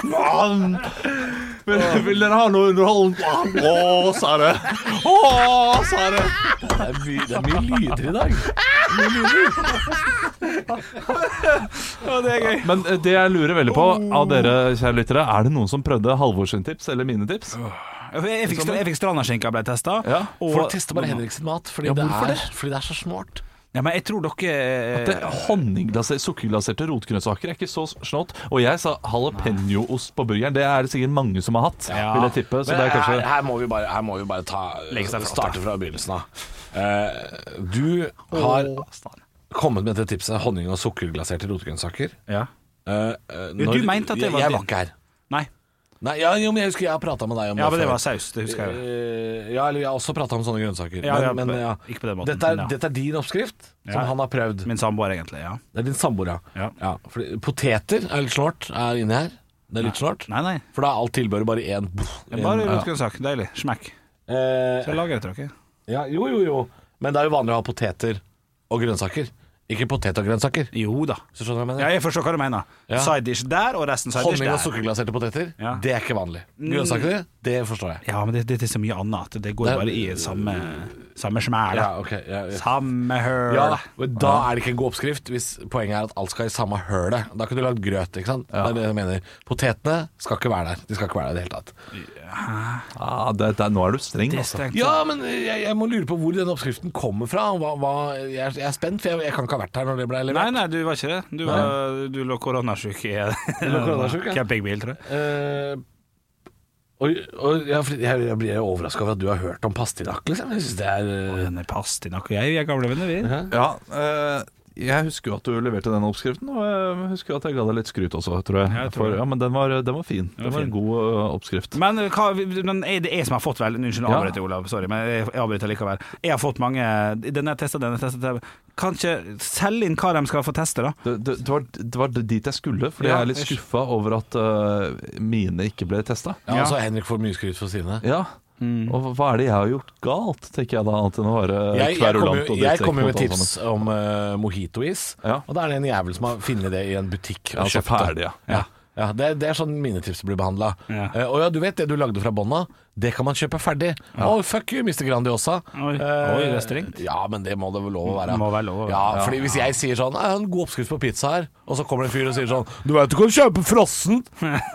Speaker 2: Mann! Vil, vil dere ha noe underholdning? Å, Sare. Å, Sare.
Speaker 3: Det er mye, det er mye lyder i dag.
Speaker 1: Å, det er gøy.
Speaker 2: Men eh, det jeg lurer veldig på av dere kjære lyttere, er det noen som prøvde Halvor sin tips eller mine tips?
Speaker 1: Jeg fikk, stra- jeg fikk Strandaskjenka ble testa.
Speaker 2: Ja,
Speaker 3: Folk tester bare Henrik sin mat fordi,
Speaker 2: Ja,
Speaker 3: det,
Speaker 2: hvorfor
Speaker 3: er,
Speaker 2: det?
Speaker 3: fordi det er så snålt.
Speaker 1: ja, men jeg tror dere
Speaker 2: Det er honningglaserte, sukkerglaserte rotgrønnsaker er ikke så snålt. Og jeg sa jalapeño-ost på burgeren. Det er det sikkert mange som har hatt, vil jeg tippe. Så
Speaker 3: Men
Speaker 2: det er
Speaker 3: her,
Speaker 2: kanskje
Speaker 3: her må vi bare, her må vi bare ta,
Speaker 1: Legge seg flat,
Speaker 3: starte fra begynnelsen av. Eh, du har kommet med dette tipset honning og sukkerglaserte rotgrønnsaker.
Speaker 1: Ja.
Speaker 3: Eh, eh,
Speaker 1: Ja, du mente at det var
Speaker 3: Jeg
Speaker 1: din.
Speaker 3: var ikke her.
Speaker 1: Nei.
Speaker 3: Nei, ja, jo, men jeg husker jeg har prata med deg om
Speaker 1: Ja,
Speaker 3: det.
Speaker 1: men det
Speaker 3: før.
Speaker 1: var saus, det husker jeg.
Speaker 3: Eh, ja, eller jeg har også prata om sånne grønnsaker.
Speaker 1: Ja, ja,
Speaker 3: men, men, ja.
Speaker 1: ikke på den måten,
Speaker 3: Dette
Speaker 1: men
Speaker 3: er,
Speaker 1: ja.
Speaker 3: dette er din oppskrift, som
Speaker 1: Ja.
Speaker 3: han har prøvd.
Speaker 1: Min samboer, egentlig. ja
Speaker 3: Det er din samboer, ja.
Speaker 1: Ja.
Speaker 3: fordi poteter er litt snålt er inni her. Det er litt snålt.
Speaker 1: Nei, nei.
Speaker 3: For da er alt tilbehøret bare én.
Speaker 1: Det er bare
Speaker 3: En-
Speaker 1: rotgrønnsak. Deilig. Smekk.
Speaker 3: Eh,
Speaker 1: Jeg lager det til dere.
Speaker 3: ja, jo, jo, jo. Men det er jo vanlig å ha poteter og grønnsaker. Ikke potet og grønnsaker.
Speaker 1: Jo da.
Speaker 3: Så skjønner du hva jeg mener?
Speaker 1: Ja, jeg forstår hva du mener.
Speaker 3: Ja.
Speaker 1: Side dish der, og resten side dish
Speaker 3: Honning og
Speaker 1: der.
Speaker 3: sukkerglaserte poteter,
Speaker 1: Ja. Mm.
Speaker 3: det er ikke vanlig. Grønnsaker, det forstår jeg.
Speaker 1: Ja, men det, det er så mye annet at det går
Speaker 3: Det er-
Speaker 1: bare i samme Samme smæla.
Speaker 3: Ja, ok. Ja, ja.
Speaker 1: Samme høl.
Speaker 3: Ja, men da er det ikke en god oppskrift hvis poenget er at alt skal i samme hølet. Da kunne du lagd grøt, ikke sant. Det er det jeg mener. Potetene skal ikke være der. De skal ikke være der i det hele tatt.
Speaker 2: ah, det, det, Nå er du streng,
Speaker 1: Det er
Speaker 2: altså.
Speaker 1: strengt.
Speaker 3: Ja, men jeg, jeg må lure på hvor denne oppskriften kommer fra. Hva, hva, jeg, er- jeg er spent, for jeg, jeg kan ikke ha vært her når det ble levert.
Speaker 1: Nei, nei, du var ikke det. Du, var, du lå koronasjuk i
Speaker 3: lå koronasjuk, ja.
Speaker 1: campingbil, tror jeg.
Speaker 3: Eh, og, og jeg, jeg, jeg blir overraska over at du har hørt om pastinakk, liksom. Jeg synes det er eh,
Speaker 1: Denne pastinakk og jeg, vi er gamle venner, vi.
Speaker 2: Ja, eh, jeg husker jo at du leverte den oppskriften, og jeg husker at jeg ga deg litt skryt også, tror jeg.
Speaker 1: jeg tror
Speaker 2: For,
Speaker 1: det.
Speaker 2: ja, men den var, den var fin. Den var en god eh, oppskrift.
Speaker 1: Men, hva, men er det jeg som har fått vel Unnskyld, jeg
Speaker 2: Ja.
Speaker 1: avbryter, Olav. Sorry, men jeg jeg avbryter likevel. Jeg har fått mange Denne er testa, denne er testa. Kan ikke selge inn hva de skal få teste, da.
Speaker 2: Det, det, det, var, det var dit jeg skulle, fordi
Speaker 1: Ja,
Speaker 2: jeg er litt
Speaker 1: jeg skj-
Speaker 2: skuffa over at eh, mine ikke ble testa.
Speaker 3: ja,
Speaker 1: Ja.
Speaker 3: altså, Henrik får mye skryt for sine.
Speaker 2: Ja.
Speaker 1: Mm.
Speaker 2: Og hva er det jeg har gjort galt, tenker jeg da, annet enn å være
Speaker 3: Jeg, jeg kom
Speaker 2: kverulant
Speaker 3: jo,
Speaker 2: og
Speaker 3: jeg
Speaker 2: drittsekk
Speaker 3: kom jo
Speaker 2: mot
Speaker 3: med
Speaker 2: alle
Speaker 3: tips
Speaker 2: sammen.
Speaker 3: om eh, mojitois,
Speaker 2: Ja.
Speaker 3: og da er det en jævel som har funnet det i en butikk.
Speaker 2: Ja,
Speaker 3: Og
Speaker 2: så
Speaker 3: kjøpt det.
Speaker 2: ferdig, ja.
Speaker 3: Ja, ja det, det er sånn mine tips blir behandla.
Speaker 1: Ja.
Speaker 3: og ja, du vet det du lagde fra bånn av, det kan man kjøpe ferdig. Å, fuck you, Mr. Grandiosa.
Speaker 1: Oi.
Speaker 3: Eh,
Speaker 1: Oi, det er strengt.
Speaker 3: Ja, men det må det vel lov å være.
Speaker 1: Det må være lov å være.
Speaker 3: Ja, fordi hvis jeg sier sånn «Nei, Jeg har en god oppskrift på pizza her, og så kommer det en fyr og sier sånn Du vet du kan kjøpe frossen!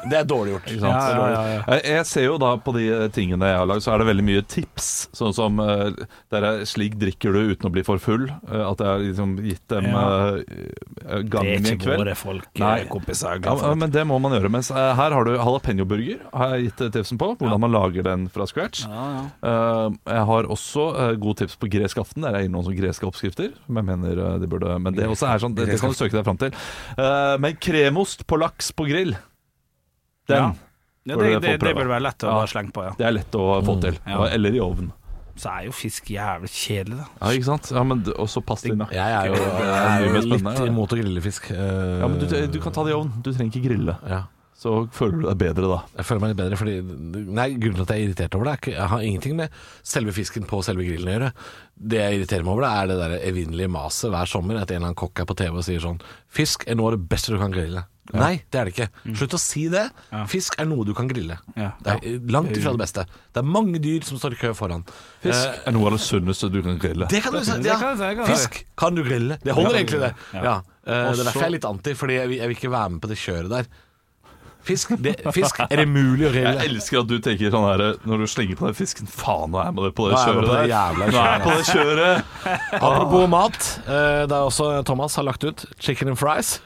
Speaker 3: Det er dårlig gjort.
Speaker 2: Ikke sant?
Speaker 1: Ja, ja, ja, ja.
Speaker 2: Jeg, jeg ser jo da på de eh, tingene jeg har lagd, så er det veldig mye tips. Sånn som eh, der er 'slik drikker du uten å bli for full'. eh, at jeg har liksom gitt dem
Speaker 1: Ja.
Speaker 2: eh, eh, gangen i en kveld.
Speaker 1: folk,
Speaker 2: Nei.
Speaker 1: eh, kompiser.
Speaker 2: Ja, men- men det må man gjøre. Mens eh, her har du jalapeño-burger, har jeg gitt eh, tipsen på. Hvordan man lager den fra scratch. Eh, jeg har også eh, gode tips på gresk aften. Der er innom sånne greske oppskrifter. Som jeg mener eh, de burde Men det også er sånn, det, det kan du søke deg fram til. Eh, men kremost på laks på grill, den
Speaker 1: Ja. Ja, det,
Speaker 2: Burde
Speaker 1: det,
Speaker 2: få
Speaker 1: det
Speaker 2: prøve.
Speaker 1: bør være lett å
Speaker 2: Ja.
Speaker 1: bare slenge på, ja.
Speaker 2: Det er lett å få til.
Speaker 1: ja.
Speaker 2: Og- Eller i ovnen.
Speaker 1: Så er jo fisk jævlig kjedelig, da.
Speaker 2: Ja, ikke sant? Ja, men d- også pastina.
Speaker 3: Jeg er jo,
Speaker 2: Det er
Speaker 3: jeg er
Speaker 2: mye
Speaker 3: jo
Speaker 2: mer spennende,
Speaker 3: litt
Speaker 2: ja.
Speaker 3: imot å grille fisk. eh,
Speaker 2: Ja, men du, du kan ta det i ovnen. Du trenger ikke grille.
Speaker 3: ja.
Speaker 2: Så føler du deg bedre da.
Speaker 3: Jeg føler meg litt bedre, fordi Nei, grunnen til at jeg er irritert over det, er ikke, jeg har ingenting med selve fisken på selve grillen å gjøre. Det jeg irriterer meg over, det er det der evinnelige maset hver sommer etter en eller annen kokk er på TV og sier sånn Fisk er noe av det beste du kan grille. Nei, det er det ikke. Slutt å si det. Fisk er noe du kan grille.
Speaker 1: Ja.
Speaker 3: Det er eh, langt ifra det beste. Det er mange dyr som står i kø foran. Eh,
Speaker 2: Fisk er noe av det sunneste du kan grille.
Speaker 3: det kan du si.
Speaker 1: Det
Speaker 3: Ja.
Speaker 1: kan- det kan-
Speaker 3: Fisk kan du grille. Det holder
Speaker 1: Ja.
Speaker 3: egentlig, det.
Speaker 1: Ja.
Speaker 3: Ja. Eh, Det
Speaker 1: så-
Speaker 3: er derfor jeg er litt anti, Fordi jeg vil, jeg vil ikke være med på det kjøret der. Fisk, det, fisk er det mulig å grille?
Speaker 2: Jeg elsker at du tenker sånn her når du slenger på den fisken. Faen, nå er jeg med det på det
Speaker 3: Nå er jeg med
Speaker 2: kjøret
Speaker 3: på
Speaker 2: der.
Speaker 3: det
Speaker 2: Nå
Speaker 3: jævla
Speaker 2: er jeg på det kjøret.
Speaker 3: Apropos mat, eh, det er også Thomas har lagt ut chicken and fries.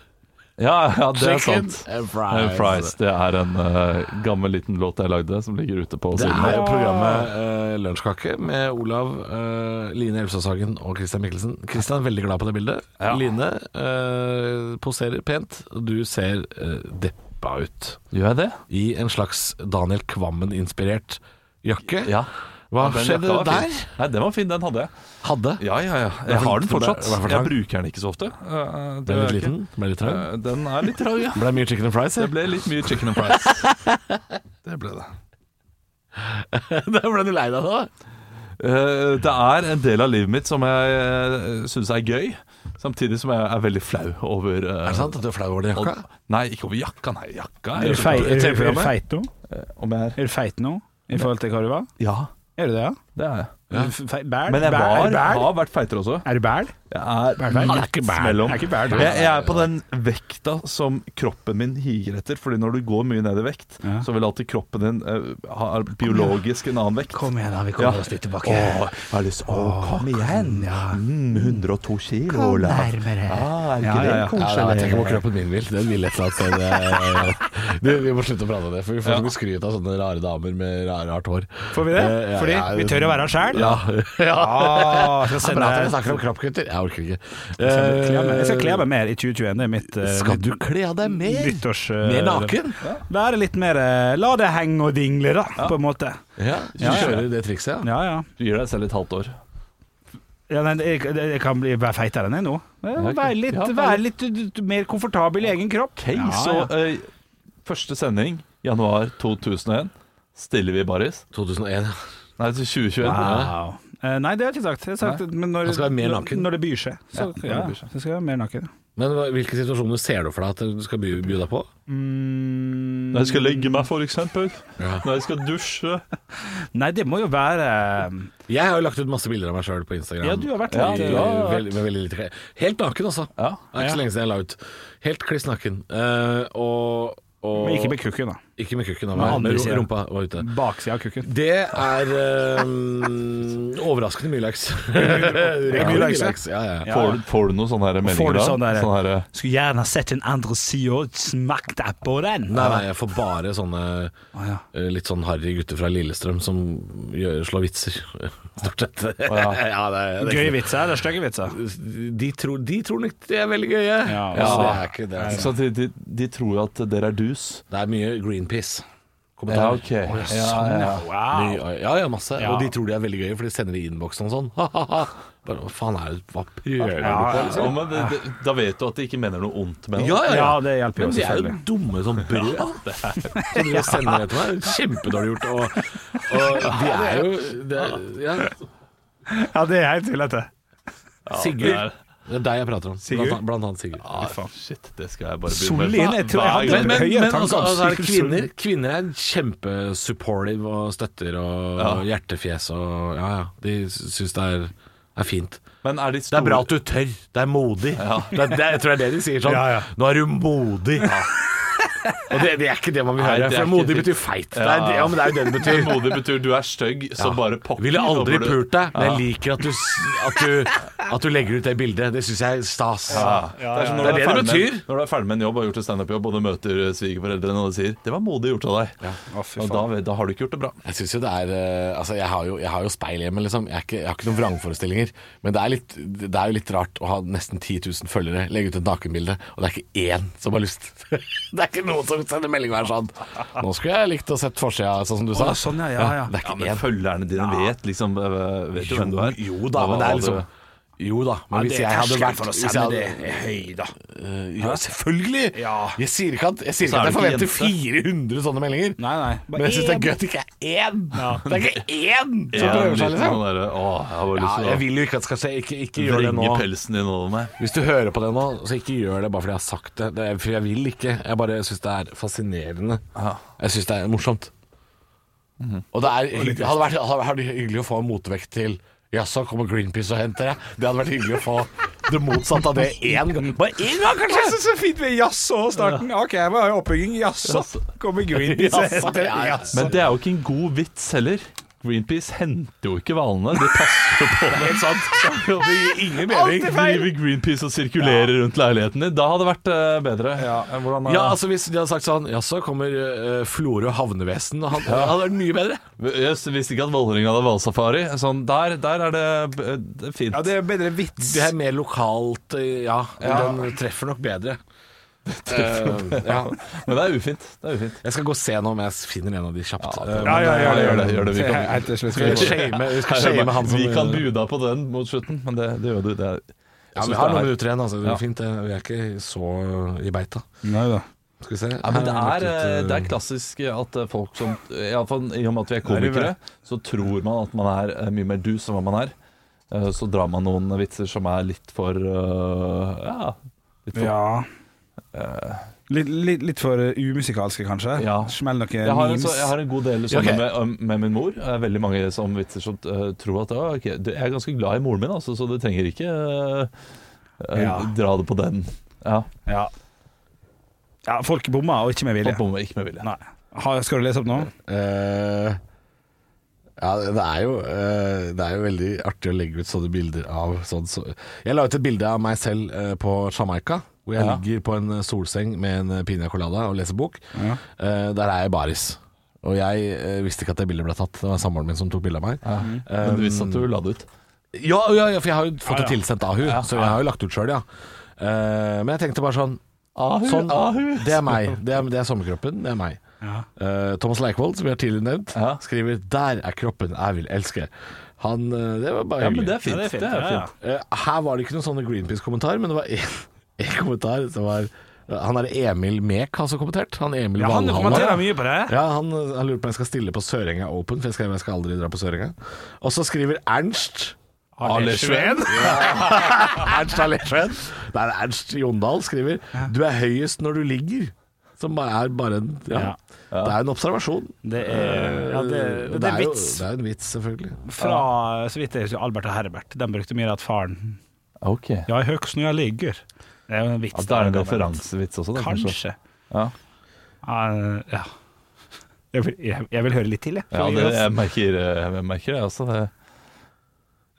Speaker 2: Ja, ja, det er
Speaker 3: Chicken
Speaker 2: sant.
Speaker 3: and
Speaker 2: Eh,
Speaker 3: fries.
Speaker 2: Fries, det er en eh, gammel liten låt jeg lagde som ligger ute på
Speaker 3: Det
Speaker 2: siden.
Speaker 3: er programmet uh, Lunsjkake med Olav, eh, Line Elvsåshagen og Christian Mikkelsen. Christian er veldig glad på det bildet.
Speaker 2: Ja.
Speaker 3: Line eh, poserer pent. Du ser eh, deppa ut.
Speaker 2: Gjør jeg det?
Speaker 3: I en slags Daniel Kvammen-inspirert jakke.
Speaker 2: Ja.
Speaker 3: Hva
Speaker 2: Den jakka
Speaker 3: skjedde
Speaker 2: var fin.
Speaker 3: der?
Speaker 2: Nei, Den var fin, den hadde jeg.
Speaker 3: Hadde?
Speaker 2: Ja, ja, ja.
Speaker 3: Hva
Speaker 2: Jeg
Speaker 3: for-
Speaker 2: har den
Speaker 3: for det-
Speaker 2: fortsatt.
Speaker 3: hva for
Speaker 2: Jeg
Speaker 3: slag?
Speaker 2: bruker den ikke så ofte. Eh, det
Speaker 3: Ble
Speaker 2: gjør
Speaker 3: litt
Speaker 2: jeg ikke.
Speaker 3: liten? Ble litt trang?
Speaker 2: Eh, Den er litt trang, ja.
Speaker 3: Ble det mye chicken and fries?
Speaker 2: Det
Speaker 3: eller?
Speaker 2: ble litt mye chicken and fries. Det ble det.
Speaker 3: Da ble du lei deg da?
Speaker 2: Eh, det er en del av livet mitt som jeg uh, syns er gøy, samtidig som jeg er veldig flau over eh,
Speaker 3: Er det sant at du er flau over den jakka?
Speaker 2: og- Nei, ikke over jakka, nei. Jakka
Speaker 1: Er du fei- er du- er du
Speaker 2: TV-programmet.
Speaker 1: feit nå?
Speaker 2: Om jeg er
Speaker 1: Er du feit nå i forhold til hva du var?
Speaker 2: Ja,
Speaker 1: Er du det, ja?
Speaker 2: det er jeg.
Speaker 1: Er du fe- Bæl?
Speaker 2: Men jeg
Speaker 1: Bæl? Er
Speaker 2: var,
Speaker 1: du bæl?
Speaker 2: har vært feitere også.
Speaker 1: Er du bæl?
Speaker 2: Jeg er
Speaker 1: Bæl?
Speaker 2: midt
Speaker 3: ikke bæl.
Speaker 2: mellom.
Speaker 1: Er ikke bæl,
Speaker 2: Jeg, jeg er på den vekta som kroppen min higer etter. Fordi når du går mye ned i vekt,
Speaker 1: Ja.
Speaker 2: så vil alltid kroppen din eh, ha biologisk en annen vekt.
Speaker 1: Kom igjen, da. Vi
Speaker 2: Ja.
Speaker 1: kommer oss litt tilbake.
Speaker 2: Åh, jeg har lyst Åh, kom igjen.
Speaker 1: ja.
Speaker 2: Mm, 102 kilo, Olav.
Speaker 1: nærmere.
Speaker 2: Ah, er
Speaker 1: Ja, ja,
Speaker 2: det ikke det
Speaker 1: ja.
Speaker 3: Ja, da, jeg
Speaker 2: koselig?
Speaker 3: tenker på hvor kroppen min vil. Den vil et eller annet sted. eh, Du, vi må slutte å prate om det, for vi får så mye skryt av sånne rare damer med rare, rart hår.
Speaker 1: Får vi det?
Speaker 3: Eh, ja,
Speaker 1: Fordi
Speaker 3: ja,
Speaker 1: vi tør å være oss sjæl?
Speaker 3: Ja. ja.
Speaker 1: Ah, skal
Speaker 3: Det er
Speaker 1: sende
Speaker 3: bra at dere
Speaker 1: deg-
Speaker 3: snakker om kroppsgutter. Jeg orker ikke.
Speaker 1: Kle meg- Jeg skal kle meg mer i 2021. Det er mitt eh,
Speaker 3: Skal du kle av deg
Speaker 1: nytt-
Speaker 3: mer?
Speaker 1: nyttårs... eh,
Speaker 3: Mer naken?
Speaker 1: Være litt mer eh, La det henge og dingle, da, på en måte.
Speaker 3: Ja, du
Speaker 1: Ja, ja.
Speaker 3: kjører det trikset, ja.
Speaker 1: Ja, ja.
Speaker 2: Du gir deg selv et halvt år.
Speaker 1: Ja, nei, jeg, jeg jeg kan bli, være feitere enn jeg nå. Eh,
Speaker 2: ok.
Speaker 1: Være litt,
Speaker 2: Ja,
Speaker 1: være litt du- du- mer komfortabel i egen kropp.
Speaker 2: Ok, så eh, første sending, januar 2001, stiller vi i baris.
Speaker 3: 2001.
Speaker 2: Nei, til 2021.
Speaker 1: Wow. Eh, nei, det har jeg ikke sagt. Jeg har sagt men når,
Speaker 3: Han skal være mer
Speaker 1: når-
Speaker 3: naken.
Speaker 1: når det byr seg. Så,
Speaker 2: Ja, når
Speaker 1: ja,
Speaker 2: det byr
Speaker 1: så
Speaker 2: seg.
Speaker 1: skal jeg være mer naken.
Speaker 3: Men hva- hvilke situasjoner ser du for deg at du skal by, by deg på?
Speaker 1: Mm,
Speaker 2: Når jeg skal legge meg, for eksempel.
Speaker 3: Ja.
Speaker 2: Når jeg skal dusje.
Speaker 1: Nei, det må jo være eh,
Speaker 3: Jeg har jo lagt ut masse bilder av meg sjøl på Instagram.
Speaker 1: Ja, du har vært
Speaker 2: Ja,
Speaker 1: litt
Speaker 2: du
Speaker 1: eh,
Speaker 2: har-
Speaker 3: Veldig- med veldig lite klær. Helt naken, altså.
Speaker 2: Ja.
Speaker 3: Det er ikke så lenge siden jeg la ut. Helt kliss naken. Eh, og, og
Speaker 1: Men ikke med kukken, da.
Speaker 3: ikke med kukken. da,
Speaker 1: Med
Speaker 3: men
Speaker 1: andre
Speaker 3: ru-
Speaker 1: siden.
Speaker 3: rumpa var ute.
Speaker 1: Baksida av kukken.
Speaker 3: Det er eh, overraskende mye likes.
Speaker 1: mye likes, ja.
Speaker 3: Ja, ja. ja.
Speaker 2: Får, får du noen sånne her
Speaker 1: Får
Speaker 2: meldinger
Speaker 1: du
Speaker 2: da?
Speaker 1: sånn der-
Speaker 2: Sånn her,
Speaker 1: Skulle gjerne sett en andre side og smakt deg på den.
Speaker 3: Nei, nei, jeg får bare sånne
Speaker 1: Å, ja.
Speaker 3: eh, litt sånn harry gutter fra Lillestrøm som gjør, slår vitser, stort sett.
Speaker 2: ja.
Speaker 3: det, det
Speaker 1: Gøye vitser eller stygge vitser?
Speaker 3: De tror, de tror nok de er veldig gøye.
Speaker 1: Ja, altså.
Speaker 3: Så det
Speaker 2: ja.
Speaker 3: er ikke det. altså.
Speaker 2: ikke sant? eh, de, de, de tror jo at dere er dus.
Speaker 3: Det er mye Greenpeace.
Speaker 2: Ja,
Speaker 3: Kommentarer.
Speaker 2: ok. Ja, ja.
Speaker 1: Wow.
Speaker 3: Mye, ja, ja, masse.
Speaker 1: Ja.
Speaker 3: Og de tror de er veldig gøye, for de sender i innboksen og sånn. Bare, hva faen er det Hva prøver du
Speaker 1: Ja,
Speaker 3: på?
Speaker 1: ja.
Speaker 2: Ja, men det, det, da vet du at de ikke mener noe ondt med det.
Speaker 3: Ja, ja, ja.
Speaker 1: Ja, det hjelper jo
Speaker 3: Men de er jo
Speaker 1: selvfølgelig.
Speaker 3: dumme som brød. Så de sender det til meg. Kjempedårlig gjort. Og, og de er jo det er, ja.
Speaker 1: Ja, det er helt tullete.
Speaker 3: Sigurd.
Speaker 2: det er-
Speaker 3: Det er deg jeg prater om.
Speaker 1: Sigurd?
Speaker 3: Blant, annet- blant annet Sigurd.
Speaker 2: Ah, shit, det skal jeg bare
Speaker 1: Solin,
Speaker 2: begynne
Speaker 1: jeg tror jeg hadde-
Speaker 2: Hver
Speaker 3: Men,
Speaker 2: gang.
Speaker 3: men,
Speaker 1: Høye
Speaker 3: men
Speaker 1: tanker
Speaker 3: altså,
Speaker 1: om
Speaker 3: altså, er det
Speaker 1: Sigurd
Speaker 3: kvinner Kvinner er kjempesupportive og støtter og hjertefjes og ja, ja. De syns det er, er fint.
Speaker 2: Men er de
Speaker 3: Det
Speaker 2: store
Speaker 3: er bra at du tør. Det er modig. Det er, det, jeg tror det er det de sier sånn.
Speaker 1: Ja, ja.
Speaker 3: Nå er du modig. Og det, det er ikke det man vil
Speaker 2: Nei, det
Speaker 3: høre.
Speaker 2: er
Speaker 3: For
Speaker 2: ikke
Speaker 3: modig
Speaker 2: fint.
Speaker 3: betyr feit. Det er,
Speaker 2: Ja.
Speaker 3: det- ja, men det er jo det det betyr.
Speaker 2: Modig betyr du er stygg som bare pokker.
Speaker 3: Ville aldri
Speaker 2: og burde-
Speaker 3: pult deg, men jeg liker at du, s- at du, at du legger ut det bildet. Det syns jeg er stas.
Speaker 2: Ja. Det er som når
Speaker 3: Det
Speaker 2: du
Speaker 3: er det det
Speaker 2: ferdig med-
Speaker 3: betyr.
Speaker 2: Når du er ferdig med en jobb og har gjort en standup-jobb, og du møter eh, svigerforeldrene og de sier 'det var modig gjort av deg',
Speaker 1: Å, fy
Speaker 2: og
Speaker 1: faen.
Speaker 2: da, da har du ikke gjort det bra.
Speaker 3: Jeg synes jo det er eh, Altså, jeg har jo, jeg har jo speil hjemme, liksom. Jeg, er ikke, jeg har ikke noen vrangforestillinger. Men det er, litt, det er jo litt rart å ha nesten 10 000 følgere, legge ut et nakenbilde, og det er ikke én som har lyst. det er ikke noen som sender melding og er sånn 'Nå skulle jeg likt å sett forsida', sånn som du sa.
Speaker 1: Å, sånn, ja, ja, ja.
Speaker 3: Det er
Speaker 2: Ja,
Speaker 3: ikke
Speaker 2: men
Speaker 3: én.
Speaker 2: følgerne dine vet liksom øh, Vet jo hvem du er.
Speaker 3: Jo da, men det er liksom Jo da, men hvis jeg hadde vært hvis jeg hadde,
Speaker 1: høy, da.
Speaker 3: Eh, Ja, selvfølgelig!
Speaker 1: Ja.
Speaker 3: Jeg sier ikke at jeg, sier
Speaker 2: Så er
Speaker 3: ikke at jeg
Speaker 2: du ikke
Speaker 3: forventer 400 sånne meldinger.
Speaker 1: Nei, nei.
Speaker 3: Men jeg syns det er gøy at det ikke er én! Det er ikke én som
Speaker 2: Ja, en
Speaker 3: prøver
Speaker 2: liten
Speaker 3: seg, liksom.
Speaker 2: sånn derre, Å, jeg har bare
Speaker 3: Ja,
Speaker 2: lyst
Speaker 3: jeg
Speaker 2: til
Speaker 3: vil jo ikke at det skal skje. Ikke, ikke
Speaker 2: å
Speaker 3: gjør det nå.
Speaker 2: vrenge pelsen din over meg.
Speaker 3: Hvis du hører på det nå, så ikke gjør det bare fordi jeg har sagt det. det er, for jeg vil ikke. Jeg bare syns det er fascinerende. Jeg syns det er morsomt. Mhm. Og det er, det hadde vært hadde vært hyggelig å få en motvekt til Jaså, kommer Greenpeace og henter deg? Det hadde vært hyggelig å få det motsatte av det én gang. Bare én gang, kanskje!
Speaker 1: Jeg syns det er fint med jaså og starten. OK, jeg må ha oppbygging. Jaså. Kommer Greenpeace og
Speaker 3: Jaså,
Speaker 1: henter
Speaker 3: ja, ja.
Speaker 1: jaså.
Speaker 2: Men det er jo ikke en god vits heller. Greenpeace henter jo ikke hvalene, de passer jo på dem. Helt sant. Det gir ingen
Speaker 1: mening.
Speaker 2: Driver Greenpeace og sirkulerer rundt leiligheten din. Da hadde det vært eh, bedre.
Speaker 3: Ja, altså Hvis de hadde sagt sånn Jaså, kommer eh, Florø havnevesen? Og han, det hadde vært mye bedre.
Speaker 2: Jeg visste ikke at Valhøringa hadde hvalsafari. Sånn, der, der er det, eh, det er fint.
Speaker 1: Ja, det er bedre vits.
Speaker 3: Det er mer lokalt, eh, ja. Den treffer nok bedre. Eh, ja.
Speaker 2: Men det er ufint. Det er ufint.
Speaker 3: Jeg skal gå og se nå om jeg finner en av de kjapt.
Speaker 2: Ja,
Speaker 3: Eh,
Speaker 1: Ja, ja, ja,
Speaker 2: gjør det, gjør det. Vi
Speaker 1: Se,
Speaker 2: kan-
Speaker 1: he- helt til slutt skal vi
Speaker 3: skal vi
Speaker 1: gå.
Speaker 3: shame, vi skal shame han som
Speaker 2: vi kan buda på den mot slutten, men det, det gjør du. Det er,
Speaker 3: Ja,
Speaker 2: synes
Speaker 3: vi har
Speaker 2: det er-
Speaker 3: noen minutter igjen, altså. Det
Speaker 2: Ja.
Speaker 3: er fint. det. Vi er ikke så i beita.
Speaker 1: Neida.
Speaker 3: Skal vi se.
Speaker 2: Ja, men det er, eh, det er
Speaker 3: klart.
Speaker 2: klassisk at eh, folk som i, alle fall, I og med at vi er komikere, så tror man at man er eh, mye mer dus enn hva man er. Eh, Så drar man noen vitser som er litt for eh, Ja. Litt for
Speaker 1: Ja. Litt, litt, litt for uh, umusikalske, kanskje?
Speaker 2: Ja.
Speaker 1: Smell noen
Speaker 2: jeg, har en,
Speaker 1: memes.
Speaker 2: så, jeg har en god del sånne
Speaker 3: Ok.
Speaker 2: med, um, med min mor. Eh, Veldig mange som vitser som eh, tror at «Å, ok, du, Jeg er ganske glad i moren min, altså, så du trenger ikke eh, eh,
Speaker 1: Ja.
Speaker 2: dra det på den. Ja,
Speaker 1: Ja. ja, folk bommer, og ikke med vilje.
Speaker 2: Folk bommer ikke med vilje.
Speaker 1: Nei. Har- Skal du lese opp nå?
Speaker 3: Eh, ja, det er, jo, eh, det er jo veldig artig å legge ut sånne bilder av sånn så. Jeg la ut et bilde av meg selv eh, på Jamaica, hvor jeg
Speaker 2: Ja.
Speaker 3: ligger på en eh, solseng med en piña colada og leser bok.
Speaker 1: Ja.
Speaker 3: Eh, der er jeg baris. Og jeg eh, visste ikke at det bildet ble tatt. Det var samboeren min som tok bilde av meg.
Speaker 2: Ja. Men du visste at du la det ut.
Speaker 3: Ja, ja, ja, for jeg har jo fått
Speaker 1: Ja, ja.
Speaker 3: det tilsendt av hun, så jeg har jo lagt ut sjøl, ja. Eh, men jeg tenkte bare sånn
Speaker 2: Ahu,
Speaker 3: sånn
Speaker 2: ahu.
Speaker 3: Det er meg. Det er, det er sommerkroppen. Det er meg.
Speaker 1: Ja.
Speaker 3: Eh, Thomas Leikvoll, som vi har tidligere nevnt,
Speaker 2: Ja.
Speaker 3: skriver 'Der er kroppen jeg vil elske'. Han eh, Det var bare
Speaker 2: Ja,
Speaker 3: hyggelig.
Speaker 2: men det er fint.
Speaker 1: Ja, det er fint,
Speaker 2: Det er
Speaker 1: ja, ja.
Speaker 2: fint.
Speaker 3: Eh, her var det ikke noen sånne Greenpeace-kommentar, men det var én kommentar som var Han er Emil Mek har så kommentert. Han Emil
Speaker 1: Ja, han
Speaker 3: Valhalla.
Speaker 1: kommenterer mye på det.
Speaker 3: Ja, han, han lurer på om jeg skal stille på Sørenga Open, for jeg skal, jeg skal aldri dra på Sørenga. Og så skriver Ernst
Speaker 1: Arne Sveen.
Speaker 3: Ernst Arne Sveen. Nei, det er Ernst Jondal skriver Du er høyest når du ligger. Som bare er bare en ja.
Speaker 1: Ja.
Speaker 3: Det er en observasjon.
Speaker 1: Det er, ja, det, det, er en
Speaker 3: jo-
Speaker 1: vits
Speaker 3: det er en vits, selvfølgelig.
Speaker 1: fra så vidt jeg husker, Albert og Herbert. Den brukte mye at faren
Speaker 2: Ok. Ja,
Speaker 1: Ja, høgst når jeg ligger. Det er jo en vits.
Speaker 2: da er det en
Speaker 1: der, gammel.
Speaker 2: referansevits også, da, kanskje.
Speaker 1: Kanskje.
Speaker 2: Ja.
Speaker 1: Ja, ja. Jeg vil, jeg, jeg vil høre litt til, jeg.
Speaker 2: Ja, det, jeg, merker, eh, jeg merker det også. Det.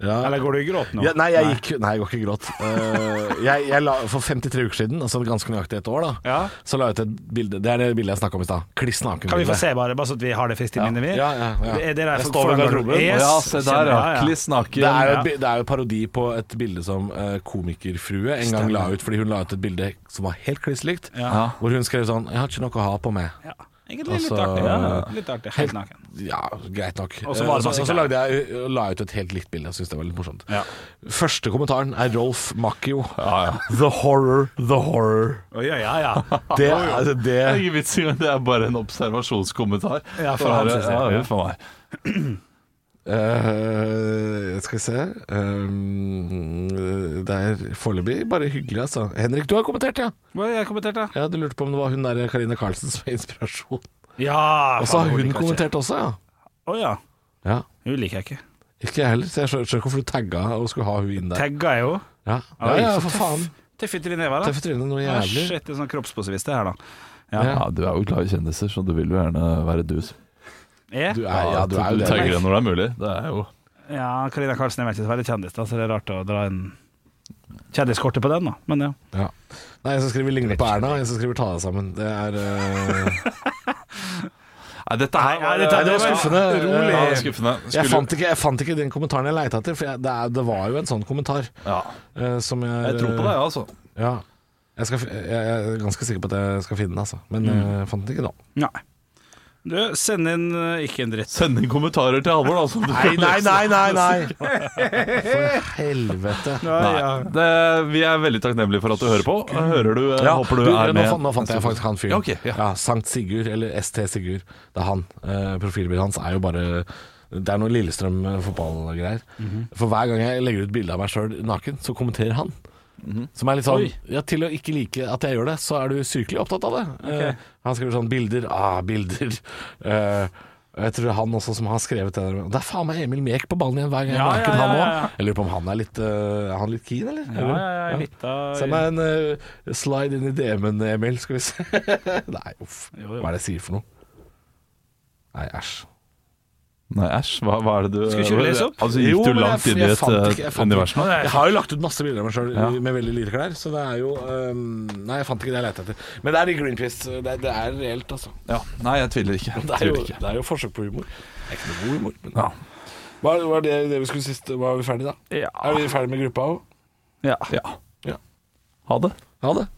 Speaker 3: Ja.
Speaker 1: Eller går du i gråt nå?
Speaker 3: Ja, nei, jeg gikk Nei, jeg går ikke i gråt. Eh, jeg, jeg la, for 53 uker siden, altså ganske nøyaktig et år, da,
Speaker 1: Ja.
Speaker 3: så la jeg ut et bilde. Det er det bildet jeg snakka om i stad. Kliss naken.
Speaker 1: Kan vi få se, bare, bare så at vi har det friskt i minnet? vi?
Speaker 3: Ja, ja, ja.
Speaker 1: Det er det der
Speaker 3: Jeg
Speaker 1: for-
Speaker 3: står
Speaker 1: for
Speaker 3: ved
Speaker 1: den
Speaker 3: garderoben.
Speaker 1: garderoben. Yes,
Speaker 2: ja, se der, ja.
Speaker 1: kjenner jeg,
Speaker 2: Kliss naken.
Speaker 3: Det er, jo
Speaker 1: Ja.
Speaker 3: et, bi- det er jo parodi på et bilde som eh, komikerfrue en gang la ut, fordi hun la ut et bilde som var helt kliss likt,
Speaker 1: Ja.
Speaker 2: Ja.
Speaker 3: hvor hun skrev sånn 'Jeg har ikke noe å ha på meg'.
Speaker 1: Ja. Egentlig litt
Speaker 3: Altså,
Speaker 1: artig.
Speaker 3: ja.
Speaker 1: Litt artig, Helt naken.
Speaker 3: Ja, greit nok.
Speaker 1: Og så var det
Speaker 3: Eh,
Speaker 1: masse
Speaker 3: og så lagde jeg, og la jeg ut et helt likt bilde. Jeg syns det var litt morsomt.
Speaker 1: Ja.
Speaker 3: Første kommentaren er Rolf Macchio.
Speaker 2: Ja, ja.
Speaker 3: The horror, the horror.
Speaker 1: Å, ja, ja, ja.
Speaker 3: Det, altså,
Speaker 2: Det
Speaker 3: det
Speaker 2: er ingen vits i, men det er bare en observasjonskommentar.
Speaker 1: Ja, for
Speaker 2: Det
Speaker 1: han
Speaker 2: er-
Speaker 1: synes jeg,
Speaker 2: ja,
Speaker 1: ja.
Speaker 2: jo, for meg.
Speaker 3: Eh, skal vi se Ehm, Det er foreløpig bare hyggelig, altså. Henrik, du har kommentert, ja.
Speaker 1: Hva har jeg kommentert, da?
Speaker 3: ja. Du lurte på om det var hun der Karina Karlsen som er inspirasjon.
Speaker 1: Ja,
Speaker 3: Og så har
Speaker 1: faen,
Speaker 3: hun
Speaker 1: liker jeg ikke.
Speaker 3: kommentert også, ja.
Speaker 1: Å ja.
Speaker 3: ja.
Speaker 1: Hun liker jeg ikke.
Speaker 3: Ikke jeg heller, så jeg skjø- skjønner ikke hvorfor du tagga og skulle ha hun inn der.
Speaker 1: Tagga er jo
Speaker 3: Ja, ja, ja for faen.
Speaker 1: Tøffe til i neva, da.
Speaker 3: Tøffe trynet, noe
Speaker 1: Ah,
Speaker 3: jævlig.
Speaker 1: Shit, det er sånn kroppsposivist det her, da.
Speaker 2: Ja, du er jo glad i kjendiser, så du vil jo gjerne være dus.
Speaker 1: Jeg?
Speaker 3: Du er, ja, du er jo
Speaker 2: tagger
Speaker 3: det.
Speaker 2: det når det er mulig. Det er jo
Speaker 1: Ja, Karina Karlsen er vel ikke så veldig kjendis, da, så det er rart å dra en kjendiskortet på den, da. Men ja.
Speaker 3: Ja. Nei, jeg som skriver 'ligne på Erna', jeg som skriver 'ta deg sammen'. Det er eh,
Speaker 2: Nei, dette her
Speaker 1: Nei, dette-
Speaker 3: Nei, det var skuffende.
Speaker 1: Rolig.
Speaker 2: Ja, det er skuffende.
Speaker 3: Jeg
Speaker 2: Skulle-
Speaker 3: fant, ikke, jeg fant ikke den kommentaren jeg leita etter, for jeg, det, er, det var jo en sånn kommentar
Speaker 2: ja.
Speaker 3: eh, som jeg
Speaker 2: Jeg tror på deg, altså.
Speaker 3: Ja. Jeg, skal, fi- jeg jeg er ganske sikker på at jeg skal finne den, altså. Men jeg fant den ikke nå.
Speaker 1: Nei. Du, send inn eh, ikke en dritt.
Speaker 2: Send inn kommentarer til Halvor, altså. Nei,
Speaker 3: nei, nei, nei! For helvete.
Speaker 2: Det, vi er veldig takknemlige for at du hører på. Hører du, eh, Håper du, er
Speaker 3: nå,
Speaker 2: med.
Speaker 3: fant, nå fant jeg faktisk han fyren.
Speaker 2: Ja, ok, ja.
Speaker 3: Sankt Sigurd, eller ST Sigurd. Det er han. Eh, profilbildet hans er jo bare det er noe Lillestrøm eh, fotballgreier.
Speaker 2: Mhm.
Speaker 3: For hver gang jeg legger ut bilde av meg sjøl naken, så kommenterer han.
Speaker 2: Mhm.
Speaker 3: Som er litt sånn
Speaker 1: Oi.
Speaker 3: ja, Til å ikke like at jeg gjør det, så er du sykelig opptatt av det. Eh, han skriver sånn Bilder, ah, bilder. Eh, og jeg tror han også som har skrevet det der Det er faen meg Emil Mek på ballen igjen hver gang jeg er
Speaker 1: Ja, ja,
Speaker 3: naken, han
Speaker 1: ja,
Speaker 3: òg.
Speaker 1: ja, ja.
Speaker 3: Jeg lurer på om han er litt, eh, er han litt keen, eller?
Speaker 1: Ja, ja, ja, litt av
Speaker 3: Send meg en eh, slide inn i DM-en, Emil, skal vi se. Nei, uff.
Speaker 1: Jo, jo.
Speaker 3: Hva er det jeg sier for noe? Nei, æsj.
Speaker 2: Nei, æsj. Hva, hva er det du
Speaker 1: Skulle ikke du lese opp?
Speaker 2: Altså, gikk
Speaker 3: Jo,
Speaker 2: du
Speaker 3: men jeg-
Speaker 2: langt inn i
Speaker 3: jeg
Speaker 2: et
Speaker 3: fant ikke- jeg
Speaker 2: eh,
Speaker 3: fant ikke.
Speaker 2: univers nå?
Speaker 3: Jeg har jo lagt ut masse bilder av meg sjøl
Speaker 2: Ja.
Speaker 3: med veldig lite klær, så det er jo ehm, Nei, jeg fant ikke det jeg lette etter. Men det er i Greenpeace. Det, er- det er reelt, altså.
Speaker 2: Ja. Nei, jeg tviler ikke. Jeg
Speaker 3: Det er, jo,
Speaker 2: tviler ikke.
Speaker 3: det er jo forsøk på humor. Det er ikke noe god humor. Men
Speaker 2: Ja.
Speaker 3: var, var det det vi skulle sist Var vi ferdige, da?
Speaker 1: Ja.
Speaker 3: Er vi ferdige med gruppa òg?
Speaker 1: Ja.
Speaker 2: ja.
Speaker 3: Ja.
Speaker 2: Ha det.
Speaker 3: Ha det.